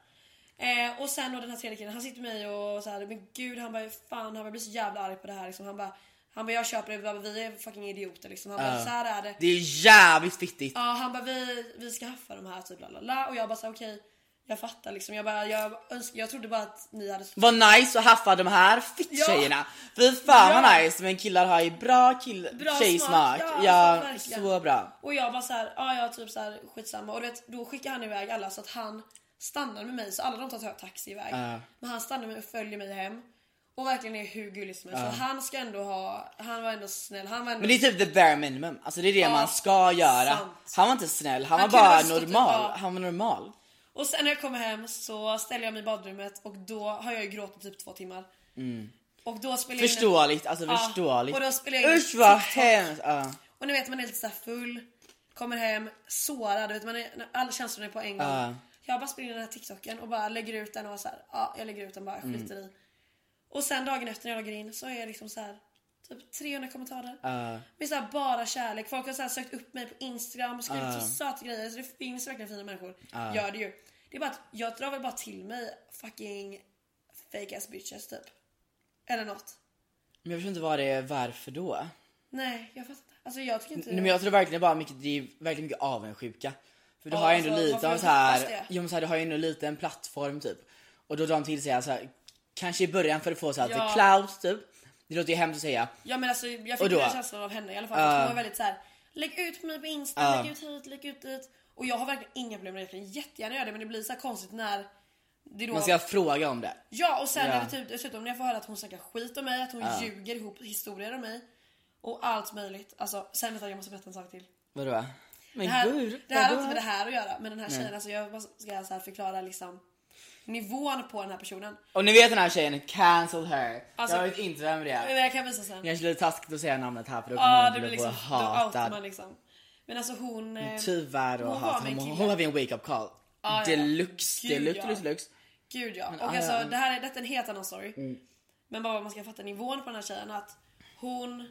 Speaker 2: Eh, och sen då den här tredje killen, han sitter med mig och så här, men gud han bara fan han bara, jag blir så jävla arg på det här liksom. Han bara, han bara jag köper det, vi bara, vi är fucking idioter liksom. Han
Speaker 1: Ah.
Speaker 2: bara så här är det.
Speaker 1: Det är jävligt fittigt.
Speaker 2: Ja han bara vi, vi ska haffa de här typ la la la och jag bara så här, okej Jag fattar liksom. Jag, bara, jag, önsk, jag trodde bara att ni hade...
Speaker 1: Vad nice att haffa de här fitt-tjejerna. Fy fan vad
Speaker 2: Bra.
Speaker 1: nice men killar har ju bra kill
Speaker 2: Bra
Speaker 1: tjejsmak.
Speaker 2: smak, ja, alltså,
Speaker 1: Ja,
Speaker 2: verkligen.
Speaker 1: så bra.
Speaker 2: Och jag bara så här, ja jag typ så här skitsamma. Och du vet, då skickar han iväg alla så att han stannar med mig. Så alla de tar ta- taxi iväg. Men han stannar med mig och följer mig hem. Och verkligen är hur gullig som helst. Så han ska ändå ha, han var ändå snäll. Han var ändå
Speaker 1: Men det är typ the bare minimum. Alltså det är det
Speaker 2: Ja,
Speaker 1: man ska göra.
Speaker 2: sant.
Speaker 1: Han var inte snäll, han,
Speaker 2: Han
Speaker 1: var
Speaker 2: kunde
Speaker 1: bara
Speaker 2: ha stått
Speaker 1: normal.
Speaker 2: upp, ja.
Speaker 1: Han var normal.
Speaker 2: Och sen när jag kommer hem så ställer jag mig i badrummet och då har jag ju gråtit typ två timmar. Och då spelar jag in en-
Speaker 1: Mm. Förståeligt, alltså
Speaker 2: Ja,
Speaker 1: förståeligt.
Speaker 2: och då spelar jag in
Speaker 1: Usch vad
Speaker 2: TikTok.
Speaker 1: hemskt. Ja.
Speaker 2: Och ni vet man är lite så här full, kommer hem sårad, du vet, man är, alla känslorna är på en gång. Jag bara spelar in den här TikToken och bara lägger ut den och så här, ja jag lägger ut den bara, jag skiter i. Och sen dagen efter när jag loggar in så är jag liksom så här typ 300 kommentarer. Med så här bara kärlek. Folk har så här sökt upp mig på Instagram och skrivit så söta grejer. Så det finns verkligen fina människor. Gör det ju. Det är bara att jag drar väl bara till mig fucking fake ass bitches typ. Eller något.
Speaker 1: Men jag förstår inte vad det är, varför då?
Speaker 2: Nej, jag fattar inte. Alltså jag tycker inte...
Speaker 1: Nej, men jag tror verkligen bara mycket, det är verkligen mycket avundsjuka. För du
Speaker 2: Ja,
Speaker 1: har ju ändå
Speaker 2: alltså,
Speaker 1: lite
Speaker 2: varför
Speaker 1: av
Speaker 2: jag
Speaker 1: så här,
Speaker 2: hoppas det?
Speaker 1: jo, men så här, du har ju ändå lite en plattform typ. Och då drar de till sig så här, kanske i början för att få så här,
Speaker 2: Ja.
Speaker 1: the clout typ. Det låter ju hemskt att säga.
Speaker 2: Ja men alltså jag
Speaker 1: Och
Speaker 2: fick
Speaker 1: då?
Speaker 2: den känslan av henne i alla fall. Uh. Hon var väldigt såhär, lägg ut mig på insta, lägg ut hit, lägg ut dit. Och jag har verkligen inga problem med det, jag kan jättegärna göra det men det blir så här konstigt när det då...
Speaker 1: Man ska fråga om det.
Speaker 2: Ja och sen
Speaker 1: Ja.
Speaker 2: är det typ, dessutom när jag får höra att hon snackar skit om mig, att hon ljuger ihop historier om mig. Och allt möjligt. Alltså sen vänta jag måste berätta en sak till.
Speaker 1: Vadå? Men
Speaker 2: Det här,
Speaker 1: gud.
Speaker 2: det här har
Speaker 1: vadå?
Speaker 2: inte med det här att göra men den här tjejen, alltså jag bara ska så här förklara liksom nivån på den här personen.
Speaker 1: Och ni vet den här tjejen, cancel her.
Speaker 2: Alltså-
Speaker 1: jag vet inte vem det är.
Speaker 2: Men jag kan visa sen.
Speaker 1: Kanske lite taskigt att säga namnet här för då kommer
Speaker 2: Ja,
Speaker 1: hon
Speaker 2: det
Speaker 1: bli
Speaker 2: blir liksom, då outar man
Speaker 1: hatad.
Speaker 2: liksom. Men alltså hon... eh,
Speaker 1: Tyvärr och
Speaker 2: hon var
Speaker 1: hatad.
Speaker 2: med en
Speaker 1: Hon, hon,
Speaker 2: kille.
Speaker 1: hade en wake up call.
Speaker 2: ja.
Speaker 1: Deluxe,
Speaker 2: Gud,
Speaker 1: deluxe,
Speaker 2: ja.
Speaker 1: deluxe, deluxe.
Speaker 2: Gud ja.
Speaker 1: ah,
Speaker 2: Och alltså,
Speaker 1: ja.
Speaker 2: det här är, detta är en helt annan story.
Speaker 1: Mm.
Speaker 2: Men bara man ska fatta nivån på den här tjejen att hon...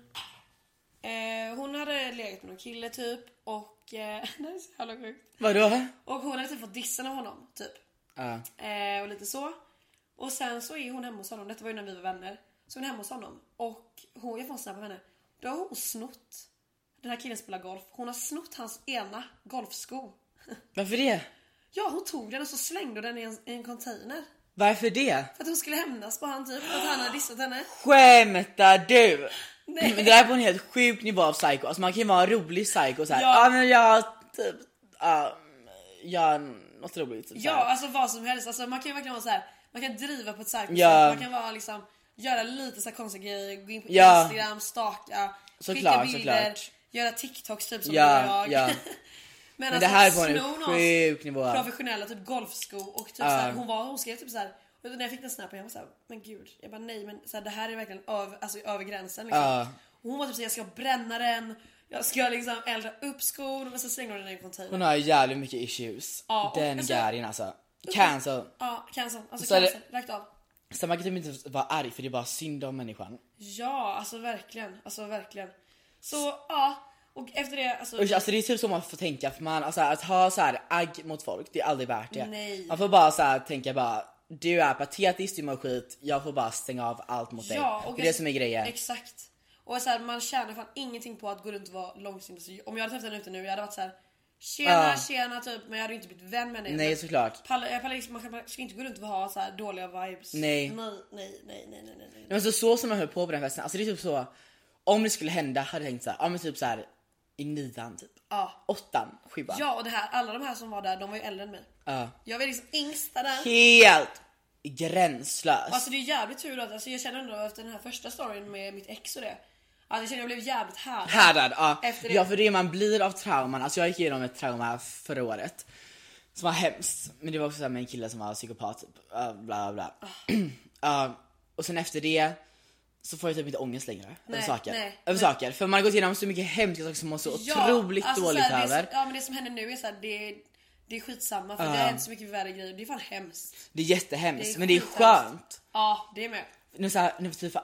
Speaker 2: Eh, hon hade legat med någon kille typ och... Eh, det här är så jävla sjukt.
Speaker 1: Vadå?
Speaker 2: Och hon hade typ fått dissen av honom typ.
Speaker 1: Ja.
Speaker 2: Eh, och lite så. Och sen så är hon hemma hos honom. Detta var ju när vi var vänner. Så hon är hemma hos honom. Och hon, jag får en snabb av henne. Då har hon snott. Den här killen spelar golf. Hon har snott hans ena golfsko.
Speaker 1: Varför det?
Speaker 2: Ja, hon tog den och så slängde hon den i en, i en container.
Speaker 1: Varför det?
Speaker 2: För att hon skulle hämnas på han typ. För att han hade dissat henne.
Speaker 1: Skämtar du?
Speaker 2: Nej.
Speaker 1: Men det här är på en helt sjuk nivå av psycho. Alltså man kan ju vara en rolig psycho såhär, ja
Speaker 2: Ja.
Speaker 1: ah, men jag typ, ja, gör något roligt. Typ, så
Speaker 2: Ja,
Speaker 1: här.
Speaker 2: alltså vad som helst. Alltså, man kan ju verkligen vara så här. Man kan driva på ett säkert
Speaker 1: Ja.
Speaker 2: sätt. Man kan vara liksom göra lite så här konstiga grejer, gå in på
Speaker 1: Ja.
Speaker 2: Instagram, stalka,
Speaker 1: Såklart, såklart.
Speaker 2: göra TikToks typ som
Speaker 1: Ja,
Speaker 2: du och jag.
Speaker 1: ja.
Speaker 2: Men,
Speaker 1: Men
Speaker 2: alltså,
Speaker 1: det här är på
Speaker 2: sno
Speaker 1: en
Speaker 2: någons
Speaker 1: sjuk nivå.
Speaker 2: professionella typ golfsko och typ så här, hon var hon skrev typ så här och när jag fick den snappen jag var såhär, men gud. Jag bara nej men så här, det här är verkligen över, alltså, över gränsen liksom.
Speaker 1: Ja.
Speaker 2: Och hon var typ såhär, jag ska bränna den, jag ska liksom elda upp skon och så slänger hon den i en container.
Speaker 1: Hon har jävligt mycket issues.
Speaker 2: Ja, och-
Speaker 1: Den
Speaker 2: alltså-
Speaker 1: gärin alltså. Cancel.
Speaker 2: Ja, cancel. Alltså
Speaker 1: Så är det-
Speaker 2: cancel, rakt av.
Speaker 1: Så man kan typ inte vara arg för det är bara synd om människan.
Speaker 2: Ja, alltså verkligen. Alltså verkligen. Så ja, och efter det alltså...
Speaker 1: Usch, alltså det är typ så man får tänka för man, alltså, att ha så här agg mot folk det är aldrig värt det.
Speaker 2: Nej.
Speaker 1: Man får bara så här, tänka bara du är patetisk, du mår skit, jag får bara stänga av allt mot dig. det är det
Speaker 2: alltså-
Speaker 1: som är grejen.
Speaker 2: Exakt. Och så här, man tjänar fan ingenting på att gå runt och vara långsint. Så Om jag hade träffat henne ute nu, jag hade varit så här. Tjena,
Speaker 1: Ja.
Speaker 2: tjena typ, men jag hade ju inte blivit vän med henne.
Speaker 1: Ah. Nej
Speaker 2: Men
Speaker 1: såklart.
Speaker 2: Pallar, jag pallar, liksom- man, kan- man ska inte gå runt och ha så här dåliga vibes.
Speaker 1: Nej.
Speaker 2: Nej, nej, nej, nej, nej, nej.
Speaker 1: Nej, men så, så som man höll på på den festen, alltså det är typ så. Om det skulle hända hade jag tänkt såhär, ja men typ såhär i nian typ.
Speaker 2: Ja.
Speaker 1: Åttan, sjuan.
Speaker 2: Ja, och det här, alla de här som var där, de var ju äldre än mig.
Speaker 1: Ja.
Speaker 2: Jag var liksom yngsta där.
Speaker 1: Ah. Helt gränslös.
Speaker 2: Alltså det är jävligt tur att alltså, jag känner ändå efter den här första storyn med mitt ex och det. Alltså jag känner jag blev jävligt här.
Speaker 1: Härdad, ja.
Speaker 2: Efter det.
Speaker 1: Ja för det man blir av trauman, alltså jag gick igenom ett trauma förra året. Som var hemskt, men det var också så här med en kille som var psykopat typ. Ja, bla bla bla.
Speaker 2: Ah.
Speaker 1: Ja, och sen efter det så får jag typ inte ångest längre över
Speaker 2: Nej,
Speaker 1: saker.
Speaker 2: nej,
Speaker 1: över
Speaker 2: men-
Speaker 1: saker. För man har gått igenom så mycket hemska saker som man så otroligt
Speaker 2: alltså,
Speaker 1: dåligt
Speaker 2: såhär, det är
Speaker 1: över.
Speaker 2: så, Ja men det som händer nu är såhär, det, det är skitsamma för det har hänt så mycket värre grejer. Det är fan hemskt.
Speaker 1: Det är jättehemskt
Speaker 2: Det är
Speaker 1: men det är
Speaker 2: skithemskt.
Speaker 1: skönt.
Speaker 2: Ja det är med.
Speaker 1: nu så här, nu typ,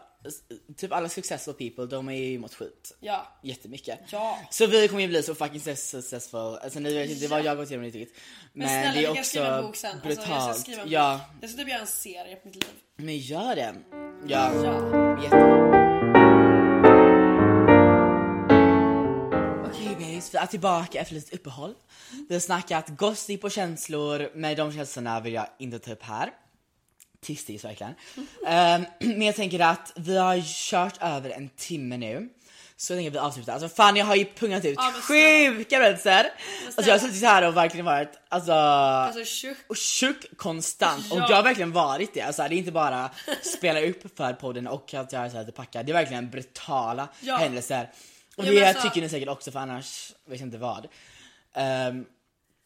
Speaker 1: typ alla successful people de har ju mått skit
Speaker 2: Ja.
Speaker 1: jättemycket.
Speaker 2: Ja.
Speaker 1: Så vi kommer ju bli så fucking successful. Alltså ni vet inte vad jag har gått igenom riktigt. Men,
Speaker 2: Men, snälla
Speaker 1: det är
Speaker 2: vi kan skriva en
Speaker 1: också
Speaker 2: bok sen.
Speaker 1: brutalt.
Speaker 2: Alltså, jag ska skriva en bok.
Speaker 1: ja,
Speaker 2: Jag ska typ göra en serie på mitt liv.
Speaker 1: men gör det. Ja.
Speaker 2: Ja.
Speaker 1: Jätte- Okej babes, vi är tillbaka efter lite uppehåll. Vi har snackat gossip och känslor, men de känslorna vill jag inte ta upp här. Tistis verkligen. Ehm, men jag tänker att vi har kört över en timme nu. Så jag tänker att vi avslutar. Alltså fan jag har ju pungat ut
Speaker 2: Ja, men snälla.
Speaker 1: sjuka berättelser. Alltså jag har suttit här och verkligen varit alltså,
Speaker 2: Alltså tjock.
Speaker 1: och tjock konstant och
Speaker 2: Ja.
Speaker 1: jag har verkligen varit det. Alltså, det är inte bara spela upp för podden och att jag är så här lite packad. Det är verkligen brutala
Speaker 2: Ja.
Speaker 1: händelser. Och
Speaker 2: Ja, men
Speaker 1: det
Speaker 2: alltså-
Speaker 1: tycker ni säkert också för annars vet jag inte vad. Ehm,